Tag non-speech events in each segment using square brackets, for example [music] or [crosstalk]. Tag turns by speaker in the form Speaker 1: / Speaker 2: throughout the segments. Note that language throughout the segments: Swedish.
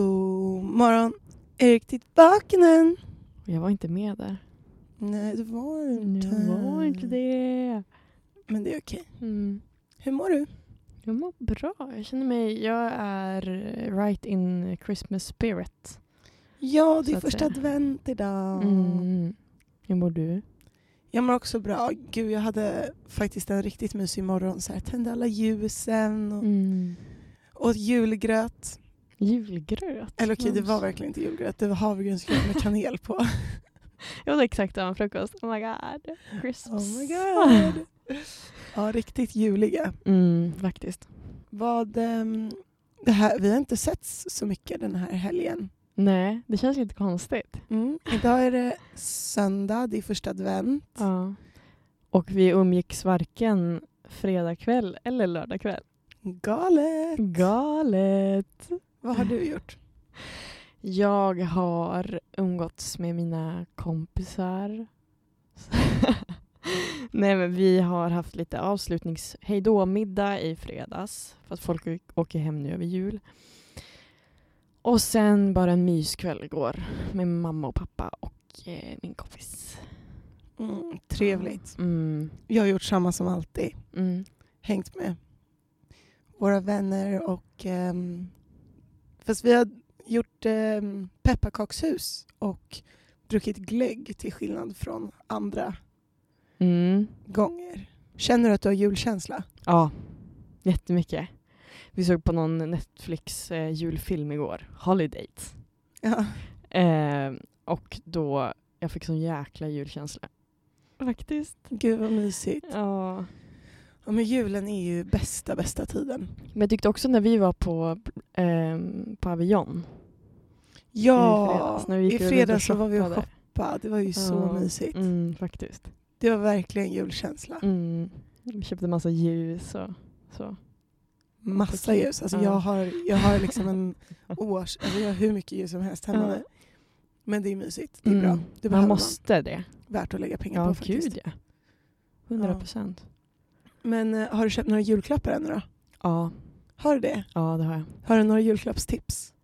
Speaker 1: God morgon. Är du riktigt vaken än?
Speaker 2: Jag var inte med där.
Speaker 1: Nej, det var du inte.
Speaker 2: Jag var inte det.
Speaker 1: Men det är okej.
Speaker 2: Mm.
Speaker 1: Hur mår du?
Speaker 2: Jag mår bra. Jag känner mig... Jag är right in Christmas spirit.
Speaker 1: Ja, det
Speaker 2: Så
Speaker 1: är
Speaker 2: att
Speaker 1: första
Speaker 2: säga.
Speaker 1: advent idag.
Speaker 2: Mm. Hur mår du?
Speaker 1: Jag mår också bra. Gud, jag hade faktiskt en riktigt mysig morgon. Så här, tände alla ljusen
Speaker 2: Mm.
Speaker 1: och åt julgröt.
Speaker 2: Julgröt.
Speaker 1: Eller okej, det
Speaker 2: Mums.
Speaker 1: var verkligen inte julgröt. Det var havregrynsgröt med kanel
Speaker 2: [laughs]
Speaker 1: på.
Speaker 2: Jag åt exakt samma frukost. Oh my god. Christmas.
Speaker 1: Oh my god. Ja, riktigt juliga.
Speaker 2: Mm, faktiskt.
Speaker 1: Vad, ehm, det här, vi har inte setts så mycket den här helgen.
Speaker 2: Nej, det känns lite konstigt.
Speaker 1: Mm. Idag är det söndag, det är första advent.
Speaker 2: Ja. Och vi umgicks varken fredag kväll eller lördag kväll.
Speaker 1: Galet!
Speaker 2: Galet.
Speaker 1: Vad har du gjort?
Speaker 2: Jag har umgåtts med mina kompisar. [laughs] Nej men vi har haft lite avslutnings middag i fredags. För att folk å- åker hem nu över jul. Och sen bara en myskväll igår med mamma och pappa och eh, min kompis.
Speaker 1: Mm, trevligt.
Speaker 2: Mm.
Speaker 1: Jag har gjort samma som alltid.
Speaker 2: Mm.
Speaker 1: Hängt med våra vänner och... ehm, fast vi har gjort um, pepparkakshus och druckit glögg till skillnad från andra
Speaker 2: Mm.
Speaker 1: gånger. Känner du att du har julkänsla?
Speaker 2: Ja, jättemycket. Vi såg på någon Netflix eh, julfilm igår, Holidays.
Speaker 1: Ja.
Speaker 2: Eh, och då, jag fick sån jäkla julkänsla. Faktiskt.
Speaker 1: Gud vad mysigt.
Speaker 2: Ja.
Speaker 1: Ja, men julen är ju bästa, bästa tiden.
Speaker 2: Men jag tyckte också när vi var på eh, Pavillon.
Speaker 1: Ja,
Speaker 2: I fredags, när vi gick
Speaker 1: i
Speaker 2: runt och
Speaker 1: fredags så var vi och
Speaker 2: shoppade.
Speaker 1: shoppade. Det var ju så
Speaker 2: Ja.
Speaker 1: mysigt. Ah.
Speaker 2: Mm, faktiskt.
Speaker 1: Det var verkligen julkänsla.
Speaker 2: Mm. Vi köpte massa ljus och så.
Speaker 1: Massa
Speaker 2: Okej.
Speaker 1: ljus. Alltså
Speaker 2: Ja.
Speaker 1: jag, har, jag har liksom en
Speaker 2: [laughs]
Speaker 1: års... Alltså jag har hur mycket ljus som helst hemma
Speaker 2: Ja.
Speaker 1: nu. Men det är mysigt. Det är
Speaker 2: Mm.
Speaker 1: bra. Det behöver man
Speaker 2: man måste det.
Speaker 1: Värt att lägga pengar
Speaker 2: Ja,
Speaker 1: på faktiskt.
Speaker 2: gud ja. 100 procent.
Speaker 1: Men eh, har du köpt några julklappar ännu då?
Speaker 2: Ja.
Speaker 1: Har du det?
Speaker 2: ja, det har jag.
Speaker 1: Har du några julklappstips?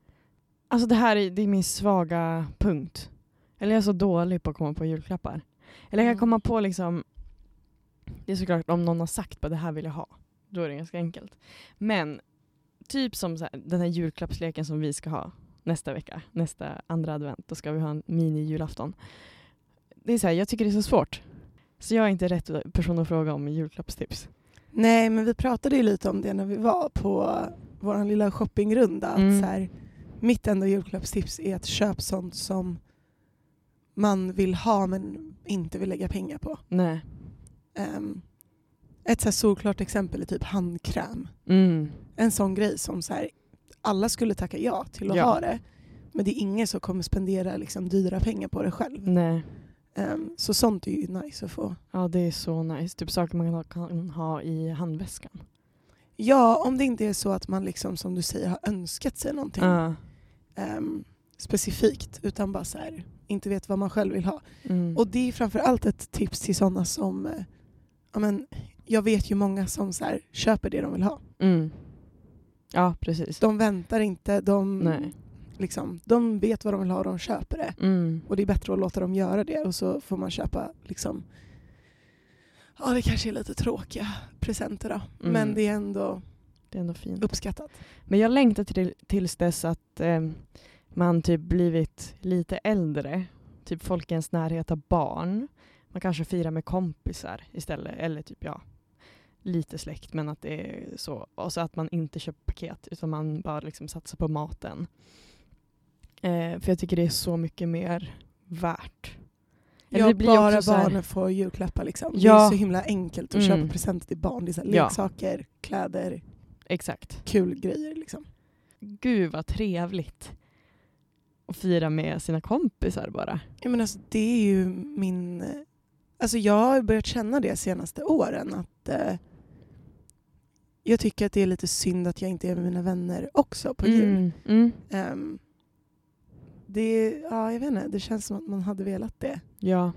Speaker 2: Alltså det här är, det är min svaga punkt. Eller jag är så dålig på att komma på julklappar. Eller jag
Speaker 1: Mm.
Speaker 2: kan komma på liksom, det är såklart om någon har sagt vad det här vill jag ha. Då är det ganska enkelt. Men typ som så här, den här julklappsleken som vi ska ha nästa vecka, nästa andra advent, då ska vi ha en mini-julafton. Det är så här, jag tycker det är så svårt. Så jag är inte rätt person att fråga om julklappstips.
Speaker 1: Nej, men vi pratade ju lite om det när vi var på vår lilla shoppingrunda. Att
Speaker 2: Mm.
Speaker 1: så här, mitt enda julklappstips är att köpa sånt som man vill ha men inte vill lägga pengar på.
Speaker 2: Nej.
Speaker 1: Ehm, ett så här solklart exempel är typ handkräm.
Speaker 2: Mm.
Speaker 1: En sån grej som så här, alla skulle tacka ja till att
Speaker 2: Ja.
Speaker 1: ha det. Men det är ingen som kommer spendera liksom, dyra pengar på det själv.
Speaker 2: Nej.
Speaker 1: Ehm, så sånt är ju nice att få.
Speaker 2: Ja, det är så nice. Typ saker man kan ha, kan ha i handväskan.
Speaker 1: Ja, om det inte är så att man liksom, som du säger har önskat sig någonting.
Speaker 2: Ja.
Speaker 1: ehm, specifikt utan bara så här, inte vet vad man själv vill ha.
Speaker 2: Mm.
Speaker 1: Och det är framförallt ett tips till sådana som, eh, ja men, jag vet ju många som så här, köper det de vill ha.
Speaker 2: Mm. Ja, precis.
Speaker 1: De väntar inte, de,
Speaker 2: Nej.
Speaker 1: liksom, de vet vad de vill ha och de köper det.
Speaker 2: Mm.
Speaker 1: Och det är bättre att låta dem göra det och så får man köpa liksom, ja det kanske är lite tråkiga presenter då.
Speaker 2: Mm.
Speaker 1: Men det är ändå
Speaker 2: Det är ändå fint.
Speaker 1: uppskattat.
Speaker 2: Men jag längtar till, tills dess att eh, man typ blivit lite äldre. Typ folk i ens närhet har barn. Man kanske firar med kompisar istället. Eller typ ja, lite släkt men att det är så. Och så att man inte köper paket utan man bara liksom satsar på maten. Eh, för jag tycker det är så mycket mer värt. Eller
Speaker 1: Ja,
Speaker 2: det blir
Speaker 1: bara
Speaker 2: också så här-
Speaker 1: barnen får julklappar liksom. Det är
Speaker 2: Ja.
Speaker 1: så himla enkelt att
Speaker 2: Mm.
Speaker 1: köpa presenter till barn. Det är så här,
Speaker 2: Ja.
Speaker 1: leksaker, kläder,
Speaker 2: Exakt.
Speaker 1: kul grejer liksom.
Speaker 2: Gud vad trevligt att fira med sina kompisar bara.
Speaker 1: Ja, men alltså, det är ju min... Alltså jag har börjat känna det senaste åren att eh, jag tycker att det är lite synd att jag inte är med mina vänner också på jul.
Speaker 2: Mm, mm.
Speaker 1: Ehm, det, ja, jag vet inte, det känns som att man hade velat det.
Speaker 2: Ja,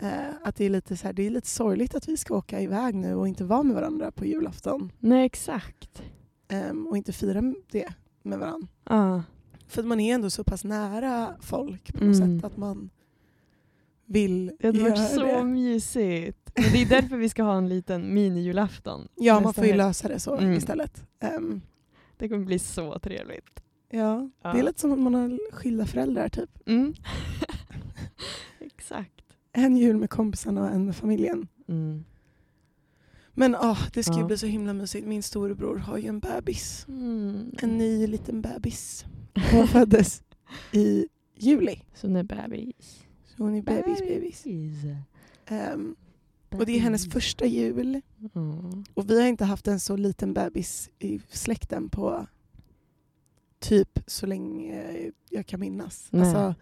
Speaker 1: Eh, att det är, lite så här, det är lite sorgligt att vi ska åka iväg nu och inte vara med varandra på julafton
Speaker 2: nej exakt.
Speaker 1: ehm, och inte fira det med varandra.
Speaker 2: Ja.
Speaker 1: För att man är ändå så pass nära folk på något
Speaker 2: Mm.
Speaker 1: sätt att man vill
Speaker 2: Det hade
Speaker 1: göra
Speaker 2: varit så
Speaker 1: det.
Speaker 2: mysigt. Men det är därför vi ska ha en liten mini-julafton.
Speaker 1: Ja,
Speaker 2: nästa
Speaker 1: man får ju
Speaker 2: helg.
Speaker 1: lösa det så
Speaker 2: Mm.
Speaker 1: istället. Ehm,
Speaker 2: Det kommer bli så trevligt.
Speaker 1: ja.
Speaker 2: Ja.
Speaker 1: Det är lite som att man har skilda föräldrar typ.
Speaker 2: Mm. [laughs] Exakt.
Speaker 1: En jul med kompisarna och en med familjen.
Speaker 2: Mm.
Speaker 1: Men ah, det ska ju
Speaker 2: Ja.
Speaker 1: bli så himla mysigt. Min storebror har ju en bebis. En ny liten
Speaker 2: [laughs]
Speaker 1: bebis. Hon föddes i juli.
Speaker 2: Så nu bebis.
Speaker 1: Så hon är bebis, bebis. Ehm, och det är hennes första jul.
Speaker 2: Mm.
Speaker 1: Och vi har inte haft en så liten bebis i släkten på typ så länge jag kan minnas.
Speaker 2: Nej.
Speaker 1: Alltså,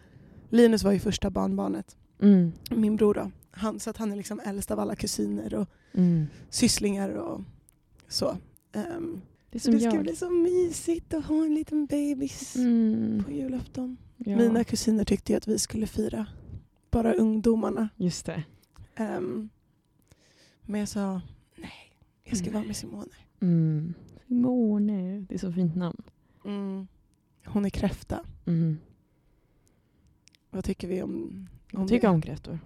Speaker 1: Linus var ju första barnbarnet.
Speaker 2: Mm.
Speaker 1: Min bror då. Han, så att han är liksom äldst av alla kusiner och
Speaker 2: Mm.
Speaker 1: sysslingar och så. Ehm,
Speaker 2: Det är
Speaker 1: så
Speaker 2: som
Speaker 1: det ska
Speaker 2: jag.
Speaker 1: bli så mysigt att ha en liten bebis
Speaker 2: Mm.
Speaker 1: på julafton.
Speaker 2: Ja.
Speaker 1: Mina kusiner tyckte ju att vi skulle fira bara ungdomarna.
Speaker 2: Just det.
Speaker 1: Ehm, men jag sa nej, jag ska
Speaker 2: Mm.
Speaker 1: vara med Simone.
Speaker 2: Mm. Simone. Det är så fint namn.
Speaker 1: Hon är kräfta.
Speaker 2: Mm.
Speaker 1: Vad tycker vi om, om
Speaker 2: Jag tycker
Speaker 1: det?
Speaker 2: om kräftor.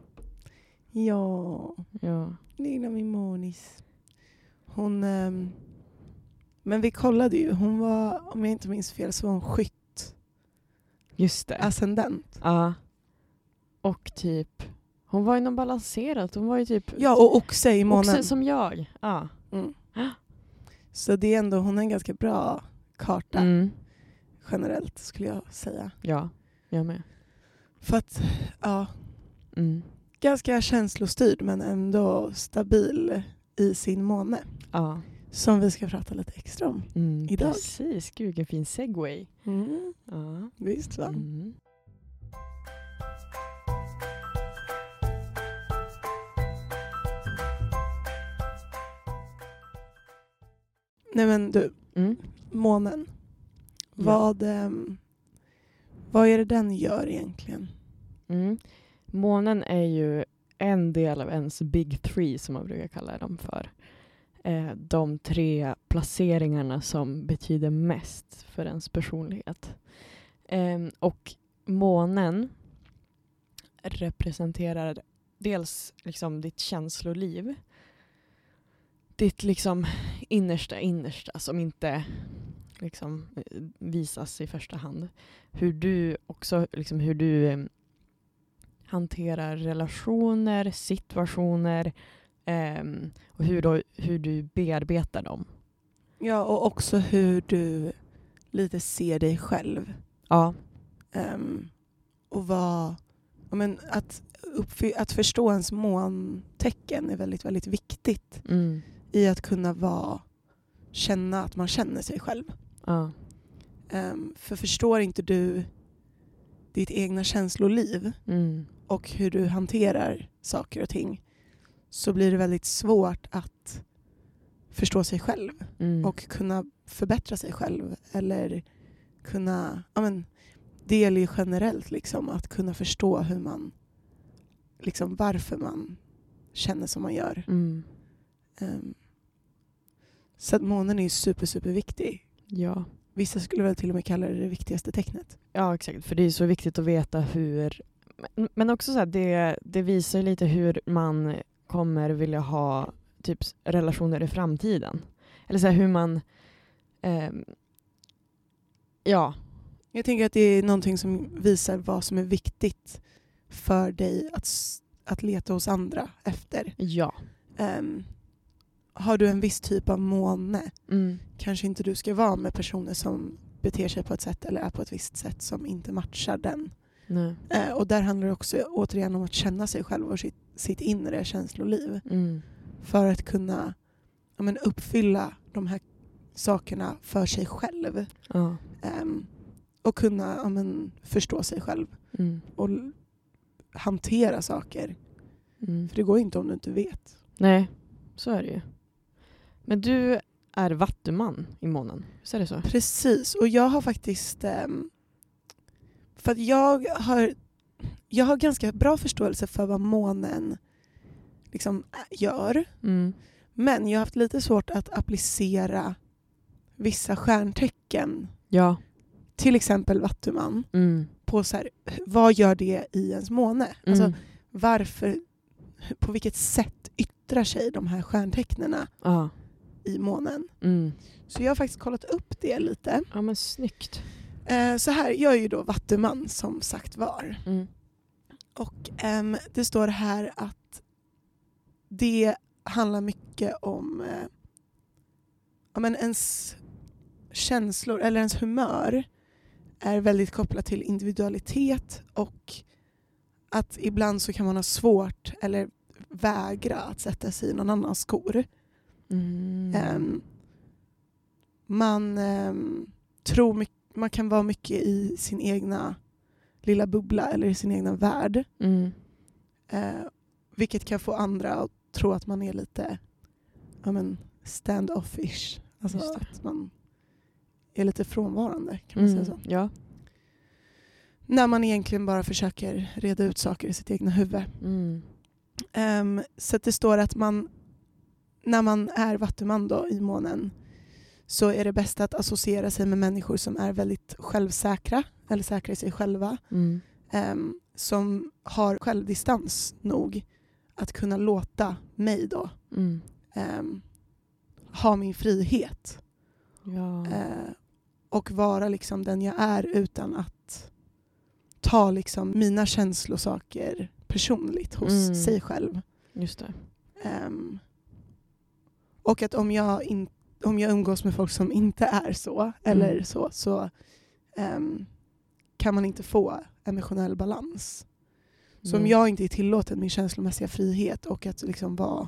Speaker 1: Ja,
Speaker 2: Ja.
Speaker 1: det gillar min monis. Hon... ehm, men vi kollade ju. Hon var, om jag inte minns fel, så var hon skytt.
Speaker 2: Just det.
Speaker 1: Ascendent.
Speaker 2: Ja. Alltså- Och typ, hon var ju någon balanserad. Hon var ju typ
Speaker 1: Ja, och oxe i månen.
Speaker 2: också som jag. Ja.
Speaker 1: Så det är ändå, hon har en ganska bra karta
Speaker 2: Mm.
Speaker 1: generellt skulle jag säga.
Speaker 2: Ja, jag med.
Speaker 1: För att, ja,
Speaker 2: Mm.
Speaker 1: ganska känslostyrd men ändå stabil i sin måne.
Speaker 2: Ja.
Speaker 1: Som vi ska prata lite extra om.
Speaker 2: Mm.
Speaker 1: Idag.
Speaker 2: Precis, gud vilken fin segway.
Speaker 1: Mm.
Speaker 2: Ja.
Speaker 1: Visst va?
Speaker 2: Mm.
Speaker 1: Nej men du,
Speaker 2: Mm.
Speaker 1: månen.
Speaker 2: Ja.
Speaker 1: Vad, ehm, vad är det den gör egentligen?
Speaker 2: Mm. Månen är ju en del av ens big three som man brukar kalla dem för. Eh, de tre placeringarna som betyder mest för ens personlighet. Eh, och månen representerar dels liksom ditt känsloliv. Ditt liksom innersta innersta som inte liksom eh, visas i första hand. Hur du också liksom hur du eh, hanterar relationer, situationer ehm, och hur, då, hur du bearbetar dem.
Speaker 1: Ja, och också hur du lite ser dig själv.
Speaker 2: Ja.
Speaker 1: Ehm, och vad, ja, men att, uppfy- att förstå ens måntecken är väldigt, väldigt viktigt
Speaker 2: Mm.
Speaker 1: i att kunna vara, känna att man känner sig själv.
Speaker 2: ja.
Speaker 1: Ehm, för förstår inte du ditt egna känsloliv
Speaker 2: Mm.
Speaker 1: och hur du hanterar saker och ting så blir det väldigt svårt att förstå sig själv
Speaker 2: Mm.
Speaker 1: och kunna förbättra sig själv eller kunna, ja men det gäller ju generellt liksom att kunna förstå hur man, liksom varför man känner som man gör.
Speaker 2: Mm.
Speaker 1: Ehm, så att månen är ju super, super viktig.
Speaker 2: Ja.
Speaker 1: Vissa skulle väl till och med kalla det det viktigaste tecknet.
Speaker 2: ja, exakt. För det är så viktigt att veta hur... Men- Men också så här, det, det visar ju lite hur man kommer vilja ha typ s- relationer i framtiden. Eller så här, hur man... ehm, ja.
Speaker 1: Jag tänker att det är någonting som visar vad som är viktigt för dig att, s- att leta hos andra efter.
Speaker 2: Ja.
Speaker 1: Ehm, har du en viss typ av måne
Speaker 2: Mm.
Speaker 1: kanske inte du ska vara med personer som beter sig på ett sätt eller är på ett visst sätt som inte matchar den.
Speaker 2: Nej.
Speaker 1: Eh, och där handlar det också återigen om att känna sig själv och sitt, sitt inre känsloliv
Speaker 2: Mm.
Speaker 1: för att kunna ja, men, uppfylla de här sakerna för sig själv
Speaker 2: Ja.
Speaker 1: Ehm, och kunna ja, men, förstå sig själv.
Speaker 2: Mm.
Speaker 1: och l- hantera saker.
Speaker 2: Mm.
Speaker 1: För det går inte om du inte vet.
Speaker 2: Nej, så är det ju. Men du är vattuman i månen, visst är det så?
Speaker 1: Precis, och jag har faktiskt... ehm, för att jag har, jag har ganska bra förståelse för vad månen liksom ä- gör.
Speaker 2: Mm.
Speaker 1: Men jag har haft lite svårt att applicera vissa stjärntecken
Speaker 2: Ja.
Speaker 1: till exempel vattuman
Speaker 2: Mm.
Speaker 1: på så här, vad gör det i ens måne? Alltså,
Speaker 2: Mm.
Speaker 1: varför, på vilket sätt yttrar sig de här stjärntecknena
Speaker 2: Ja.
Speaker 1: i månen?
Speaker 2: Mm.
Speaker 1: Så jag har faktiskt kollat upp det lite.
Speaker 2: ja, men snyggt.
Speaker 1: Eh, så här, jag är ju då vattuman som sagt var.
Speaker 2: Mm.
Speaker 1: Och ehm, det står här att det handlar mycket om eh, ja, men ens känslor eller ens humör är väldigt kopplat till individualitet och att ibland så kan man ha svårt eller vägra att sätta sig i någon annans skor.
Speaker 2: Mm.
Speaker 1: Ehm, man ehm, tror mycket, man kan vara mycket i sin egna lilla bubbla eller i sin egna värld.
Speaker 2: Mm.
Speaker 1: Eh, vilket kan få andra att tro att man är lite ja, men stand-offish. Alltså
Speaker 2: Just det.
Speaker 1: att man är lite frånvarande kan man
Speaker 2: Mm.
Speaker 1: säga så.
Speaker 2: Ja.
Speaker 1: När man egentligen bara försöker reda ut saker i sitt egna huvud.
Speaker 2: Mm.
Speaker 1: Ehm, så att det står att man, när man är vattuman då, i månen så är det bäst att associera sig med människor som är väldigt självsäkra eller säkra i sig själva.
Speaker 2: Mm.
Speaker 1: ehm, som har självdistans nog att kunna låta mig då
Speaker 2: Mm.
Speaker 1: ehm, ha min frihet
Speaker 2: Ja.
Speaker 1: eh, och vara liksom den jag är utan att ta liksom mina känslosaker personligt hos
Speaker 2: Mm.
Speaker 1: sig själv.
Speaker 2: Just det.
Speaker 1: Ehm, och att om jag, in, om jag umgås med folk som inte är så,
Speaker 2: Mm.
Speaker 1: eller så, så ehm, kan man inte få emotionell balans. Så om
Speaker 2: Mm.
Speaker 1: jag inte är tillåten min känslomässiga frihet och att liksom vara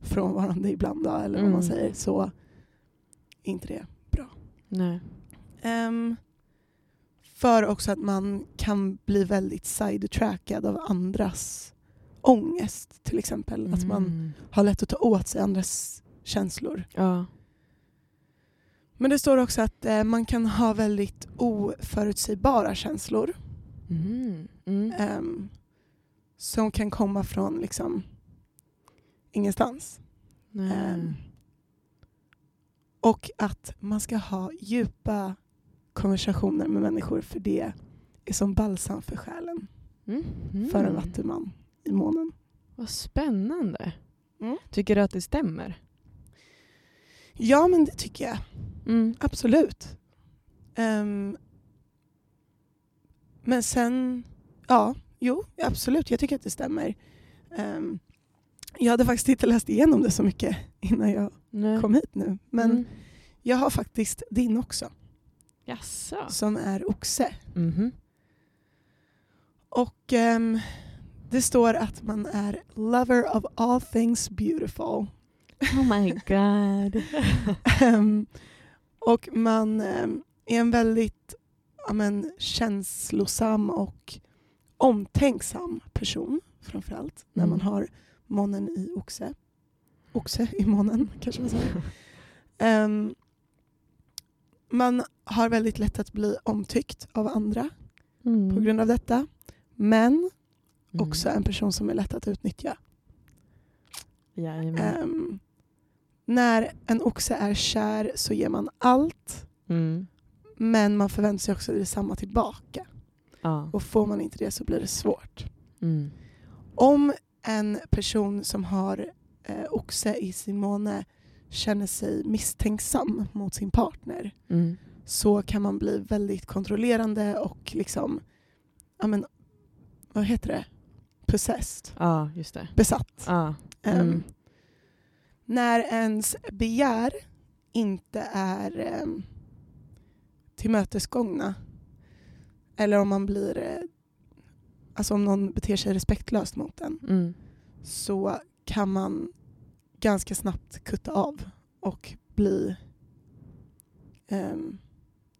Speaker 1: frånvarande ibland då, eller vad man
Speaker 2: Mm.
Speaker 1: säger så är inte det.
Speaker 2: Nej.
Speaker 1: Ehm, för också att man kan bli väldigt sidetrackad av andras ångest till exempel. Att man
Speaker 2: Mm.
Speaker 1: har lätt att ta åt sig andras känslor.
Speaker 2: Ja.
Speaker 1: Men det står också att eh, man kan ha väldigt oförutsägbara känslor
Speaker 2: Mm. Mm.
Speaker 1: ehm, som kan komma från liksom ingenstans.
Speaker 2: Nej.
Speaker 1: Ehm, och att man ska ha djupa konversationer med människor för det är som balsam för själen
Speaker 2: Mm. Mm.
Speaker 1: för en vattuman i månen.
Speaker 2: Vad spännande.
Speaker 1: Mm.
Speaker 2: Tycker du att det stämmer?
Speaker 1: Ja men det tycker jag
Speaker 2: Mm.
Speaker 1: absolut. Ehm, men sen, ja, jo absolut jag tycker att det stämmer. Ehm, jag hade faktiskt inte läst igenom det så mycket [laughs] innan jag
Speaker 2: Nej.
Speaker 1: kom hit nu. Men
Speaker 2: Mm.
Speaker 1: jag har faktiskt din också,
Speaker 2: Jaså?
Speaker 1: som är oxe.
Speaker 2: Mhm.
Speaker 1: Och ehm, det står att man är lover of all things beautiful.
Speaker 2: Oh my god.
Speaker 1: Ehm, och man ehm, är en väldigt ja, men, känslosam och omtänksam person framförallt när
Speaker 2: Mm.
Speaker 1: man har månen i oxe. Oxe i månen kanske man säger. Ehm, man har väldigt lätt att bli omtyckt av andra
Speaker 2: Mm.
Speaker 1: på grund av detta. Men
Speaker 2: Mm.
Speaker 1: också en person som är lätt att utnyttja.
Speaker 2: Jajamän.
Speaker 1: Ehm, när en oxe är kär så ger man allt
Speaker 2: Mm.
Speaker 1: men man förväntar sig också detsamma tillbaka.
Speaker 2: Ja.
Speaker 1: Och får man inte det så blir det svårt.
Speaker 2: Mm.
Speaker 1: Om en person som har eh, oxe i sin måne känner sig misstänksam mot sin partner
Speaker 2: Mm.
Speaker 1: så kan man bli väldigt kontrollerande och liksom, ja men, vad heter det? Possessed.
Speaker 2: Ja, just det.
Speaker 1: Besatt.
Speaker 2: Ja.
Speaker 1: Ehm,
Speaker 2: Mm.
Speaker 1: När ens begär inte är um, tillmötesgångna eller om man blir eh, alltså om någon beter sig respektlöst mot en
Speaker 2: Mm.
Speaker 1: så kan man ganska snabbt kutta av och bli ehm,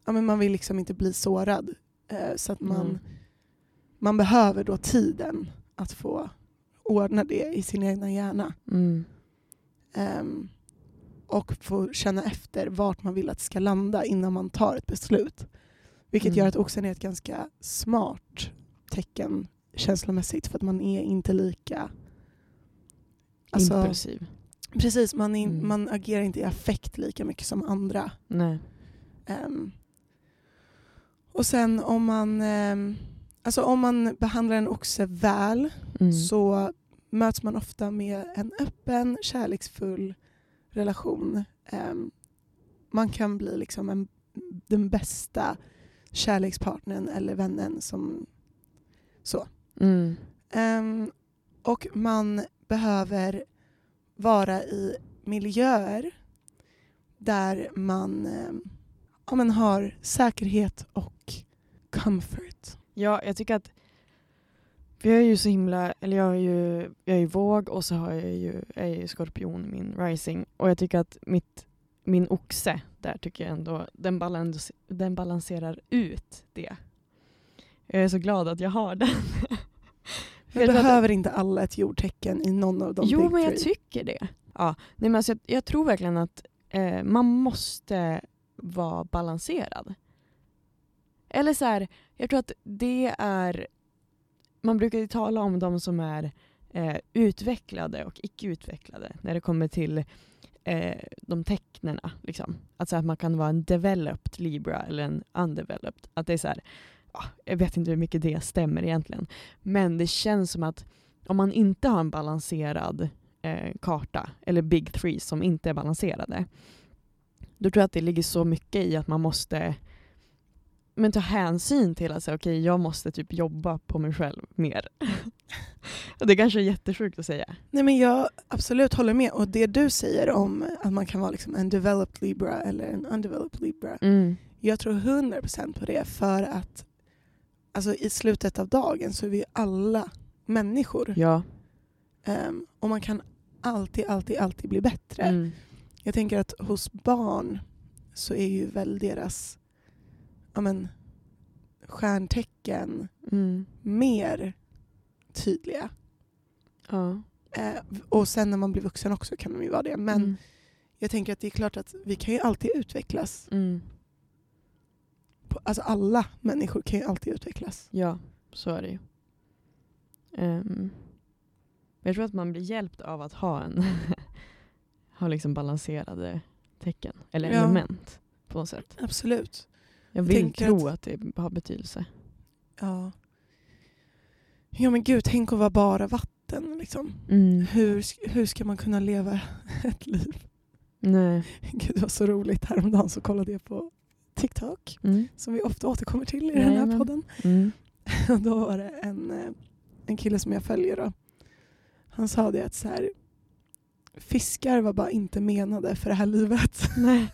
Speaker 1: ja, men man vill liksom inte bli sårad eh, så att man,
Speaker 2: Mm.
Speaker 1: man behöver då tiden att få ordna det i sin egna hjärna.
Speaker 2: Mm.
Speaker 1: Ehm, och få känna efter vart man vill att det ska landa innan man tar ett beslut. Vilket
Speaker 2: Mm.
Speaker 1: gör att oxen är ett ganska smart tecken känslomässigt för att man är inte lika... Alltså,
Speaker 2: Impulsiv.
Speaker 1: precis, man, är, in-
Speaker 2: Mm.
Speaker 1: man agerar inte i affekt lika mycket som andra.
Speaker 2: Nej.
Speaker 1: Ehm, Och sen om man, ehm, alltså om man behandlar en oxe väl
Speaker 2: Mm.
Speaker 1: så möts man ofta med en öppen, kärleksfull relation. Ehm, man kan bli liksom en, den bästa kärlekspartnern eller vännen som så.
Speaker 2: Mm.
Speaker 1: Ehm, och man behöver vara i miljöer där man, ehm, ja, men har säkerhet och comfort.
Speaker 2: Ja, jag tycker att för jag är ju så himla, eller jag är ju, jag är ju våg och så har jag ju, jag är ju skorpion, min rising. Och jag tycker att mitt, min oxe där tycker jag ändå, den, balans, den balanserar ut det. Jag är så glad att jag har den. [laughs]
Speaker 1: Men
Speaker 2: tror att-
Speaker 1: behöver inte alla ett jordtecken i någon av de
Speaker 2: Jo,
Speaker 1: big
Speaker 2: men jag
Speaker 1: three?
Speaker 2: tycker det. Ja, nej, men alltså, jag, jag tror verkligen att eh, man måste vara balanserad. Eller så här, jag tror att det är... Man brukar ju tala om de som är eh, utvecklade och icke-utvecklade när det kommer till eh, de tecknena. Liksom. Alltså att man kan vara en developed Libra eller en undeveloped. Att det är så här, ja, jag vet inte hur mycket det stämmer egentligen. Men det känns som att om man inte har en balanserad eh, karta, eller big three som inte är balanserade, då tror jag att det ligger så mycket i att man måste men ta hänsyn till att säga, okej, jag måste typ jobba på mig själv mer. [laughs] och det kanske är jättesjukt att säga.
Speaker 1: Nej men jag absolut håller med och det du säger om att man kan vara liksom en developed libra eller en undeveloped libra. Jag tror 100% på det för att alltså, i slutet av dagen så är vi alla människor.
Speaker 2: Ja.
Speaker 1: Ehm, och man kan alltid, alltid, alltid bli bättre.
Speaker 2: Mm.
Speaker 1: Jag tänker att hos barn så är ju väl deras ja, men, stjärntecken
Speaker 2: Mm.
Speaker 1: mer tydliga.
Speaker 2: Ja.
Speaker 1: Eh, och sen när man blir vuxen också kan de ju vara det. Men
Speaker 2: Mm.
Speaker 1: jag tänker att det är klart att vi kan ju alltid utvecklas.
Speaker 2: Mm.
Speaker 1: På- Alltså alla människor kan ju alltid utvecklas.
Speaker 2: Ja, så är det ju. Ehm, jag tror att man blir hjälpt av att ha en [laughs] ha liksom balanserade tecken, eller
Speaker 1: Ja.
Speaker 2: element på något sätt.
Speaker 1: Absolut.
Speaker 2: Jag
Speaker 1: Jag
Speaker 2: vill
Speaker 1: tänker
Speaker 2: tro att... det har betydelse.
Speaker 1: Ja. Ja men gud, tänk att vara bara vatten liksom.
Speaker 2: Mm.
Speaker 1: Hur, sk- hur ska man kunna leva [laughs] ett liv?
Speaker 2: Nej.
Speaker 1: Gud det var så roligt. Häromdagen så kollade jag på TikTok
Speaker 2: Mm.
Speaker 1: som vi ofta återkommer till i den här
Speaker 2: Jajamän.
Speaker 1: podden. [laughs]
Speaker 2: Mm.
Speaker 1: Och då var det en, eh, en kille som jag följer. Då. Han sa det att så här, fiskar var bara inte menade för det här livet.
Speaker 2: Nej.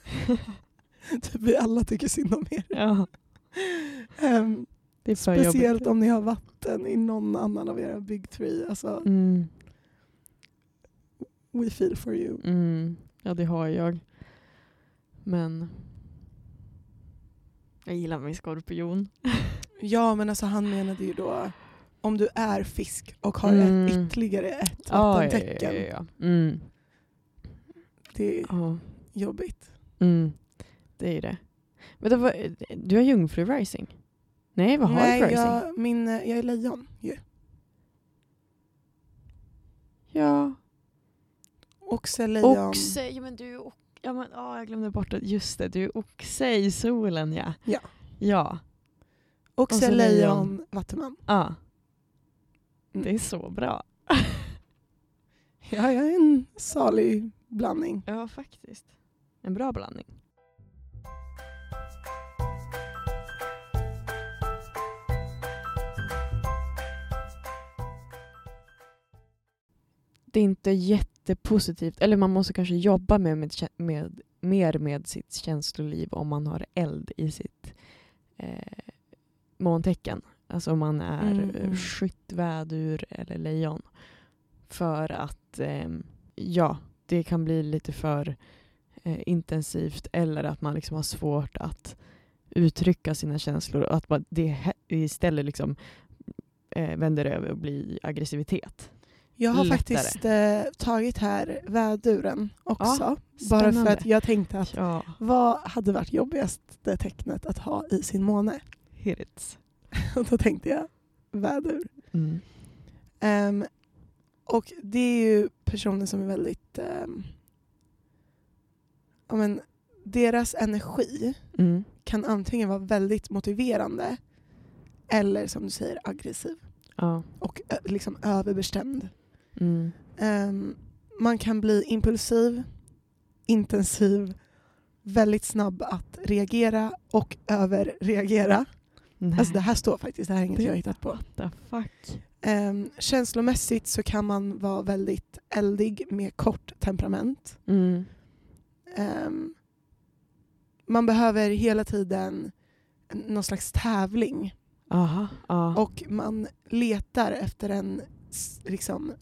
Speaker 1: typ vi alla tycker synd om er.
Speaker 2: Ja,
Speaker 1: Ehm,
Speaker 2: det är för
Speaker 1: speciellt
Speaker 2: jobbigt.
Speaker 1: om ni har vatten i någon annan av era big three. Alltså,
Speaker 2: Mm.
Speaker 1: we feel for you.
Speaker 2: Mm. Ja, det har jag. Men jag gillar min skorpion.
Speaker 1: Ja men alltså han menade ju då om du är fisk och har
Speaker 2: Mm.
Speaker 1: ett, ytterligare ett
Speaker 2: Ah,
Speaker 1: vattentecken.
Speaker 2: Ja, ja, ja. Mm.
Speaker 1: Det är
Speaker 2: Ja.
Speaker 1: jobbigt.
Speaker 2: Mm, det är ju det. Men det var, du har jungfru rising? Nej, vad har
Speaker 1: Nej,
Speaker 2: du för rising?
Speaker 1: jag, min, eh, jag är lejon ju.
Speaker 2: Ja,
Speaker 1: Oxe, lejon.
Speaker 2: oxe. Ja, men du är ox- ja, men, ah, jag glömde bort det. Just det, du är oxe i solen ja.
Speaker 1: Ja.
Speaker 2: Ja,
Speaker 1: Oxe,
Speaker 2: Och så
Speaker 1: lejon,
Speaker 2: lejon.
Speaker 1: vattuman.
Speaker 2: ah.
Speaker 1: Mm.
Speaker 2: det är så bra.
Speaker 1: Ja, jag är en salig blandning.
Speaker 2: Ja, faktiskt. En bra blandning. Det är inte jättepositivt, eller man måste kanske jobba med, med, med, mer med sitt känsloliv om man har eld i sitt eh, måntecken. Alltså om man är
Speaker 1: Mm,
Speaker 2: mm.
Speaker 1: mm.
Speaker 2: skytt, vädur eller lejon. För att ehm, ja, det kan bli lite för eh, intensivt eller att man liksom har svårt att uttrycka sina känslor och att man det he- istället liksom eh, vänder över och blir aggressivitet.
Speaker 1: Jag har
Speaker 2: Lättare.
Speaker 1: faktiskt eh, tagit här väduren också. bara för
Speaker 2: Spännande.
Speaker 1: att jag tänkte att
Speaker 2: Ja,
Speaker 1: vad hade varit jobbigaste tecknet att ha i sin måne? [laughs]
Speaker 2: hit it.
Speaker 1: Och då tänkte jag vädur.
Speaker 2: Mm.
Speaker 1: Ehm, och det är ju personer som är väldigt... ehm, ja, men, deras energi
Speaker 2: Mm.
Speaker 1: kan antingen vara väldigt motiverande eller som du säger aggressiv
Speaker 2: Ja.
Speaker 1: och ö- liksom överbestämd.
Speaker 2: Mm.
Speaker 1: Ehm, man kan bli impulsiv, intensiv, väldigt snabb att reagera och överreagera.
Speaker 2: Nej.
Speaker 1: Alltså det här står faktiskt, det här är inget
Speaker 2: Det-
Speaker 1: jag har hittat på.
Speaker 2: the fuck.
Speaker 1: Ehm, känslomässigt så kan man vara väldigt eldig med kort temperament.
Speaker 2: Mm.
Speaker 1: Ehm, man behöver hela tiden någon slags tävling
Speaker 2: Aha. Ja.
Speaker 1: Och man letar efter en s- liksom,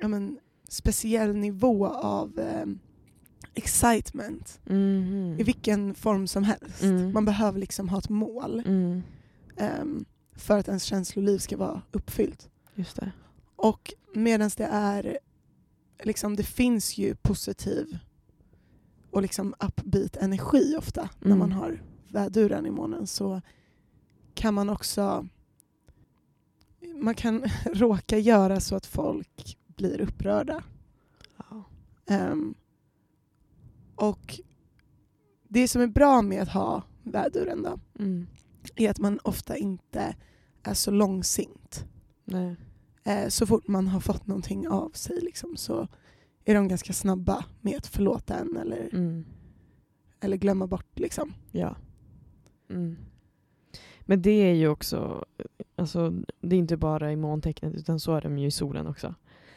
Speaker 1: ja, men, speciell nivå av eh, excitement
Speaker 2: Mhm.
Speaker 1: i vilken form som helst.
Speaker 2: Mm.
Speaker 1: Man behöver liksom ha ett mål
Speaker 2: Mm.
Speaker 1: ehm, för att ens känsloliv ska vara uppfyllt.
Speaker 2: Just det.
Speaker 1: Och medan det är, liksom, det finns ju positiv och liksom upbeat energi ofta när
Speaker 2: Mm.
Speaker 1: man har väduren i månen så kan man också man kan [laughs] råka göra så att folk blir upprörda.
Speaker 2: Ja.
Speaker 1: Ehm, och det som är bra med att ha väduren då
Speaker 2: Mm.
Speaker 1: är att man ofta inte är så långsint.
Speaker 2: Nej.
Speaker 1: Eh, så fort man har fått någonting av sig liksom, så är de ganska snabba med att förlåta en eller,
Speaker 2: Mm.
Speaker 1: eller glömma bort. Liksom.
Speaker 2: Ja. Mm. Men det är ju också, alltså det är inte bara i måntecknet utan så är de ju i solen också.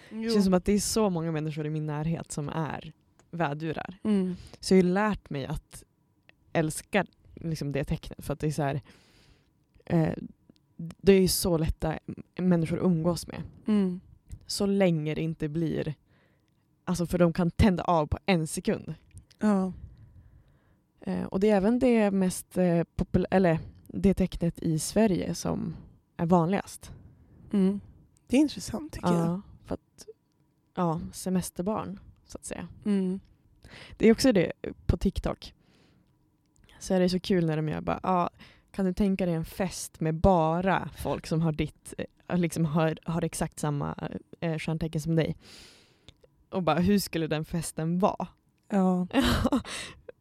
Speaker 2: Det känns som att det är så många människor i min närhet som är vädurar.
Speaker 1: Mm.
Speaker 2: Så jag har ju lärt mig att älska liksom, det tecknet för att det är så här, eh, det är ju så lätta människor att umgås med.
Speaker 1: Mm.
Speaker 2: Så länge det inte blir, alltså för de kan tända av på en sekund.
Speaker 1: Ja.
Speaker 2: Eh, och det är även det mest eh, popul- eller det tecknet i Sverige som är vanligast.
Speaker 1: Mm. Det är intressant tycker jag.
Speaker 2: Ja, för att, ja, semesterbarn så att säga.
Speaker 1: Mm.
Speaker 2: Det är också det på TikTok. Så är det så kul när de gör bara, ah, kan du tänka dig en fest med bara folk som har ditt, eh, liksom har, har exakt samma eh, stjärntecken som dig. Och bara, hur skulle den festen vara?
Speaker 1: [laughs] Ja.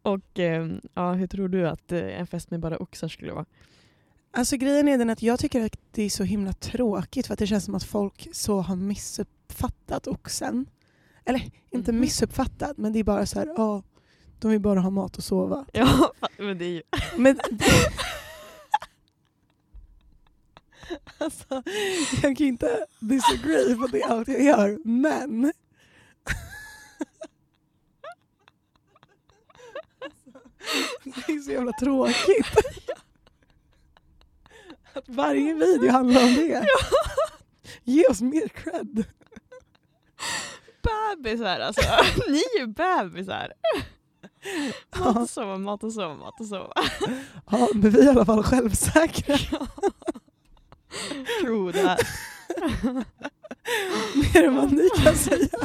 Speaker 2: och eh, ja, hur tror du att eh, en fest med bara oxar skulle vara?
Speaker 1: Alltså grejen är den att jag tycker att det är så himla tråkigt för att det känns som att folk så har missuppfattat oxen. Eller inte
Speaker 2: Mhm.
Speaker 1: missuppfattat men det är bara så här, ja, de vill bara ha mat och sova.
Speaker 2: Ja, men det är ju...
Speaker 1: Men alltså, jag kan inte disagree på det allt jag gör, men... Alltså, det är så jävla tråkigt. Att varje video handlar om det. Ge oss mer cred.
Speaker 2: Bebisar alltså, [laughs] ni är ju bebisar! Mat och sova, mat och sova, mat och sova.
Speaker 1: Ja, men vi är i alla fall självsäkra.
Speaker 2: Tro [laughs] det här.
Speaker 1: Mer än vad ni kan säga.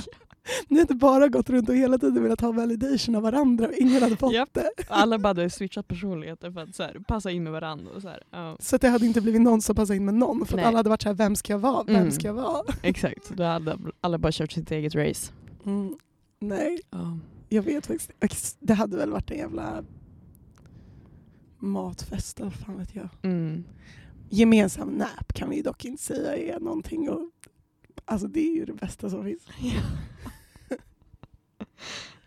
Speaker 1: Ni har inte bara gått runt och hela tiden velat ha validation av varandra och ingen hade fått
Speaker 2: Japp.
Speaker 1: det.
Speaker 2: Alla bara hade switchat personligheter för att så här, passa in med varandra. Och så här. Ja,
Speaker 1: Så att det hade inte blivit någon som passade in med någon för att
Speaker 2: Nej.
Speaker 1: alla hade varit så här, vem ska jag vara, vem
Speaker 2: Mm.
Speaker 1: ska jag vara?
Speaker 2: exakt, då hade alla bara kört sitt eget race. Mm.
Speaker 1: Nej,
Speaker 2: Ja.
Speaker 1: jag vet faktiskt Ex- Det hade väl varit en jävla matfest eller vad fan vet jag.
Speaker 2: Mm.
Speaker 1: Gemensam nap kan vi ju dock inte säga är någonting och alltså det är ju det bästa som finns.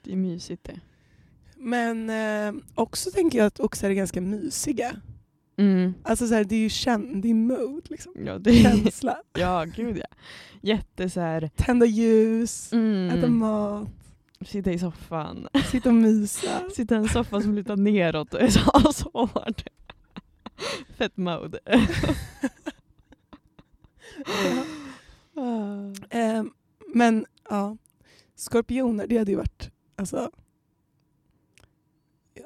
Speaker 2: Det är mysigt det.
Speaker 1: Men eh, också tänker jag att oxar är ganska mysiga.
Speaker 2: Mm.
Speaker 1: Alltså så här, det är ju känd, det är mode
Speaker 2: [laughs]
Speaker 1: liksom.
Speaker 2: Ja, det är,
Speaker 1: Känsla.
Speaker 2: ja, gud ja. Jätte så här,
Speaker 1: Tända ljus, äta
Speaker 2: mm,
Speaker 1: mat,
Speaker 2: sitta i soffan. [laughs]
Speaker 1: sitta och mysa.
Speaker 2: Sitta i en soffa som lutar neråt och är så [laughs] ashård.
Speaker 1: [laughs]
Speaker 2: Fett mode.
Speaker 1: Eh, men ja, skorpioner det hade ju varit, alltså,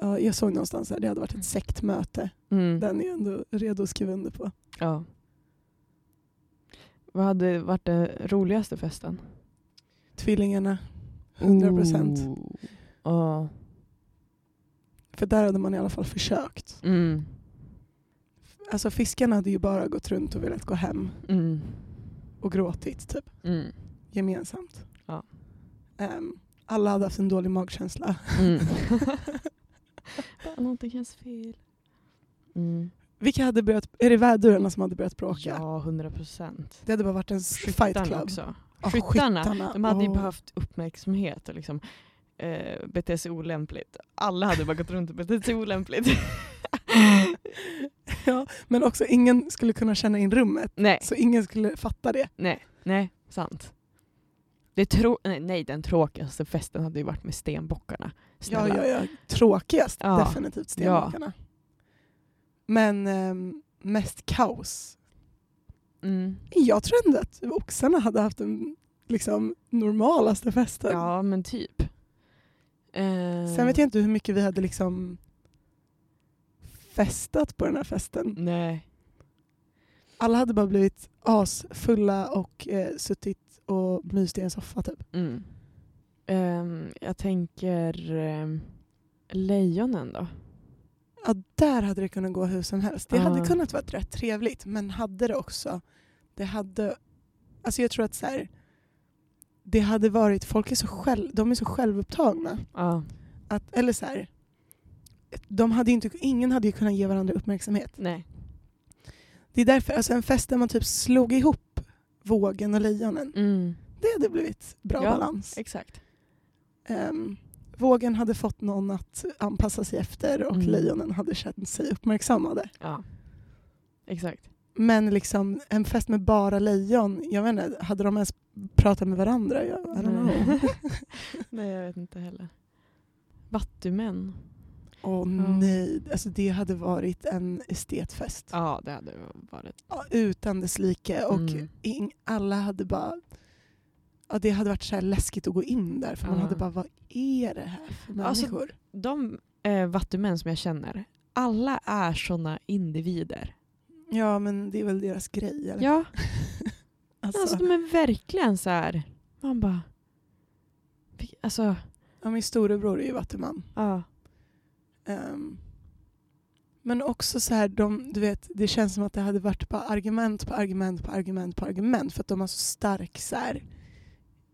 Speaker 1: ja, jag såg någonstans här, det hade varit ett sektmöte.
Speaker 2: Mm.
Speaker 1: Den är jag ändå redo att skriva under på.
Speaker 2: Ja. Vad hade varit den roligaste festen?
Speaker 1: Tvillingarna, 100 procent.
Speaker 2: Ooh. Ja.
Speaker 1: För där hade man i alla fall försökt.
Speaker 2: Mm.
Speaker 1: Alltså fiskarna hade ju bara gått runt och velat gå hem
Speaker 2: Mm.
Speaker 1: och gråtit typ,
Speaker 2: Mm.
Speaker 1: gemensamt. Ehm,
Speaker 2: Ja.
Speaker 1: Eh, alla hade haft en dålig magkänsla.
Speaker 2: Mm. någonting känns fel. Mm.
Speaker 1: [laughs] Vilka hade börjat, är det värdurarna som hade börjat bråka?
Speaker 2: Ja, hundra procent.
Speaker 1: Det hade bara varit en s- fight
Speaker 2: Skyttarna
Speaker 1: club.
Speaker 2: också.
Speaker 1: Ja,
Speaker 2: Skyttarna, De hade ju
Speaker 1: Åh.
Speaker 2: behövt uppmärksamhet och liksom, eh, bete sig olämpligt. Alla hade bara gått runt och betett
Speaker 1: [laughs]
Speaker 2: sig olämpligt.
Speaker 1: Ja, men också ingen skulle kunna känna in rummet.
Speaker 2: nej,
Speaker 1: Så ingen skulle fatta det.
Speaker 2: nej, nej, sant. Det tro- nej, nej, den tråkigaste festen hade ju varit med stenbockarna.
Speaker 1: Ja,
Speaker 2: Snälla.
Speaker 1: ja, ja. Tråkigast
Speaker 2: Ja.
Speaker 1: definitivt stenbockarna. Men ehm, mest kaos.
Speaker 2: Mm.
Speaker 1: Jag tror ändå att oxarna hade haft den liksom, normalaste festen.
Speaker 2: ja men typ. Eh,
Speaker 1: Sen vet jag inte hur mycket vi hade liksom festat på den här festen.
Speaker 2: Nej.
Speaker 1: Alla hade bara blivit asfulla och eh, suttit och myst i en soffa typ.
Speaker 2: Mm. Ehm, jag tänker um, lejonen då.
Speaker 1: Ja, där hade det kunnat gå hur som helst. Det
Speaker 2: Ja.
Speaker 1: hade kunnat vara rätt trevligt men hade det också, det hade, alltså jag tror att så här, det hade varit, folk är så, själv, de är så självupptagna.
Speaker 2: Ja,
Speaker 1: Att, eller så här, de hade ju inte, ingen hade ju kunnat ge varandra uppmärksamhet.
Speaker 2: nej.
Speaker 1: Det är därför, alltså en fest där man typ slog ihop vågen och lejonen,
Speaker 2: Mm,
Speaker 1: det hade blivit bra
Speaker 2: Ja,
Speaker 1: balans.
Speaker 2: exakt.
Speaker 1: Ehm, vågen hade fått någon att anpassa sig efter och
Speaker 2: Mm.
Speaker 1: lejonen hade känt sig uppmärksammade.
Speaker 2: Ja. Exakt.
Speaker 1: Men liksom en fest med bara lejon, jag vet inte, hade de ens pratat med varandra? Jag, I don't know.
Speaker 2: Nej. [laughs] nej, jag vet inte heller. Vattumän.
Speaker 1: Åh nej, alltså det hade varit en estetfest.
Speaker 2: Ja, det hade varit.
Speaker 1: Ja, Utan dess like och
Speaker 2: Mm.
Speaker 1: ing, alla hade bara Ja, det hade varit så här läskigt att gå in där för man
Speaker 2: Ja.
Speaker 1: hade bara, vad är det här för
Speaker 2: Alltså,
Speaker 1: människor?
Speaker 2: De eh, vattumän som jag känner, alla är sådana individer.
Speaker 1: Ja men det är väl deras grej eller?
Speaker 2: Ja,
Speaker 1: Alltså,
Speaker 2: alltså de är verkligen så här. Man bara... Vil- Alltså,
Speaker 1: ja, min storebror är ju vattuman.
Speaker 2: ja.
Speaker 1: Ehm, men också så här, de, du vet, det känns som att det hade varit bara argument på argument på argument på argument för att de har så stark så här,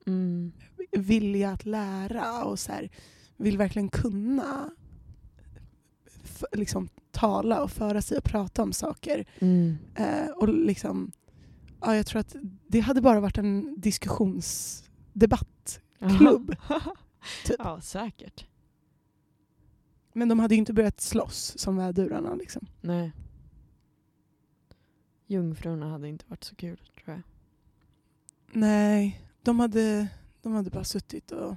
Speaker 2: Mm.
Speaker 1: vilja att lära och så här, vill verkligen kunna f- liksom, tala och föra sig och prata om saker.
Speaker 2: Mm.
Speaker 1: Eh, och liksom, ja, jag tror att det hade bara varit en diskussionsdebattklubb.
Speaker 2: [laughs] Ja, säkert.
Speaker 1: Men de hade ju inte börjat slåss som vädurarna. Liksom.
Speaker 2: Nej. Jungfrurna hade inte varit så kul, tror jag.
Speaker 1: Nej, de hade, de hade bara suttit och...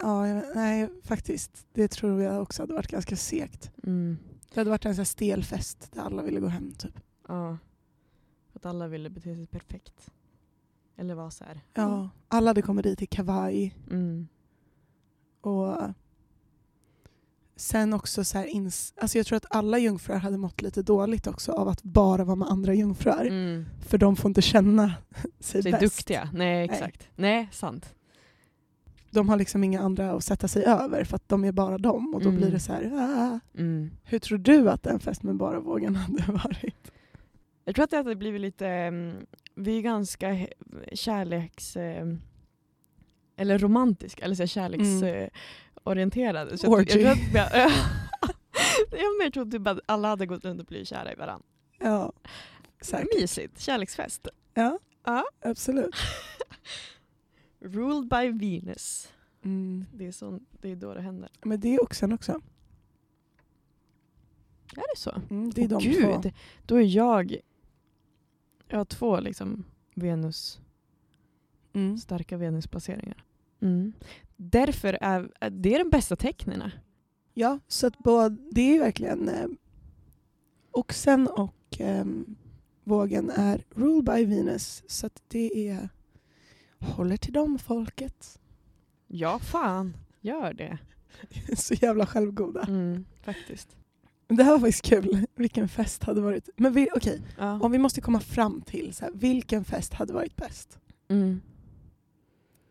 Speaker 1: Ja, jag- nej, faktiskt. Det tror jag också hade varit ganska segt.
Speaker 2: Mm.
Speaker 1: Det hade varit en sån här stel fest där alla ville gå hem. Typ.
Speaker 2: Ja. För att alla ville bete sig perfekt. Eller vara så här.
Speaker 1: Ja, alla hade kommit dit i kavaj
Speaker 2: Mm.
Speaker 1: och sen också så här ins- alltså jag tror att alla jungfrur hade mått lite dåligt också av att bara vara med andra jungfrur.
Speaker 2: Mm.
Speaker 1: För de får inte känna sig
Speaker 2: Så är
Speaker 1: bäst.
Speaker 2: duktiga. Nej, exakt. Nej, sant.
Speaker 1: De har liksom inga andra att sätta sig över för att de är bara dem och då
Speaker 2: Mm.
Speaker 1: blir det så här... "Ah."
Speaker 2: Mm.
Speaker 1: Hur tror du att en fest med bara vågen [laughs] hade varit?
Speaker 2: Jag tror att det hade blivit lite, mm, vi är ganska he- kärleks... eh, Eller romantiska, eller så här kärleksorienterade. Så jag,
Speaker 1: Mm. Orgy.
Speaker 2: tror- jag tror att vi, [laughs] jag mer tror typ att alla hade gått runt och blivit kära i varandra.
Speaker 1: Ja, säkert.
Speaker 2: Mysigt, kärleksfest.
Speaker 1: Ja,
Speaker 2: Ja.
Speaker 1: absolut.
Speaker 2: Ruled by Venus.
Speaker 1: Mm.
Speaker 2: Det är, så, det är då det händer.
Speaker 1: Men det är oxen också.
Speaker 2: Är det så?
Speaker 1: Mm, det är de
Speaker 2: Gud,
Speaker 1: två.
Speaker 2: då är jag... Jag har två liksom Venus,
Speaker 1: Mm.
Speaker 2: starka Venusplaceringar. Mm. Därför är är det är de bästa tecknena.
Speaker 1: Ja, så att både, det är ju verkligen eh, oxen och ehm, vågen är ruled by Venus. Så att det är håller till dem folket. [laughs]
Speaker 2: Ja, fan. Gör det.
Speaker 1: så jävla självgoda.
Speaker 2: Mm, [laughs] faktiskt.
Speaker 1: Men Det här var faktiskt kul. Vilken fest hade varit... Men vi, okej,
Speaker 2: Ja.
Speaker 1: om vi måste komma fram till så här, vilken fest hade varit bäst?
Speaker 2: Mm.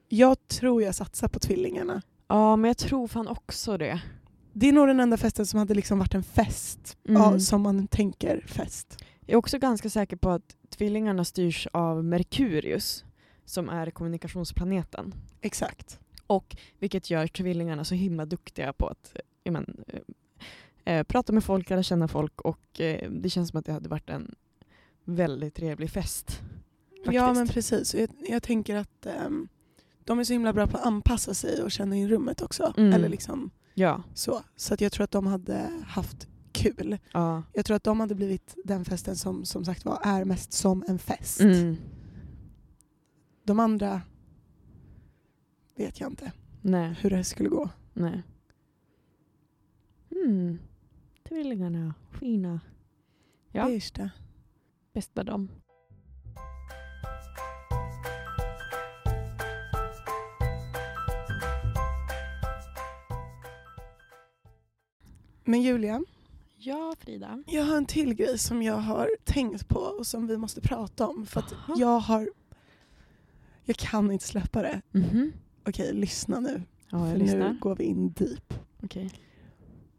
Speaker 1: Jag tror jag satsar på tvillingarna.
Speaker 2: ja, men jag tror fan också det.
Speaker 1: Det är nog den enda festen som hade liksom varit en fest,
Speaker 2: Mm.
Speaker 1: ja, som man tänker fest.
Speaker 2: Jag är också ganska säker på att tvillingarna styrs av Merkurius som är kommunikationsplaneten.
Speaker 1: Exakt.
Speaker 2: Och vilket gör tvillingarna så himla duktiga på att ja, men, eh, eh, prata med folk, lära känna folk och eh, det känns som att det hade varit en väldigt trevlig fest.
Speaker 1: Ja men
Speaker 2: faktiskt.
Speaker 1: precis. Och Jag, jag tänker att ehm, de är så himla bra på att anpassa sig och känna in rummet också.
Speaker 2: Mm.
Speaker 1: Eller liksom
Speaker 2: Ja,
Speaker 1: så. Så att jag tror att de hade haft kul.
Speaker 2: ja.
Speaker 1: Jag tror att de hade blivit den festen som som sagt var är mest som en fest.
Speaker 2: Mm.
Speaker 1: De andra vet jag inte
Speaker 2: Nej,
Speaker 1: hur det skulle gå.
Speaker 2: nej. Mm. Tvillingarna, fina. Ja.
Speaker 1: Birsta.
Speaker 2: Bäst med dem.
Speaker 1: Men Julia,
Speaker 2: Ja, Frida.
Speaker 1: jag har en till grej som jag har tänkt på och som vi måste prata om. För att
Speaker 2: Jaha.
Speaker 1: jag har... Jag kan inte släppa det.
Speaker 2: Mhm.
Speaker 1: Okej, lyssna nu.
Speaker 2: Ja,
Speaker 1: för
Speaker 2: jag
Speaker 1: nu
Speaker 2: lyssnar.
Speaker 1: går vi in deep.
Speaker 2: Okej.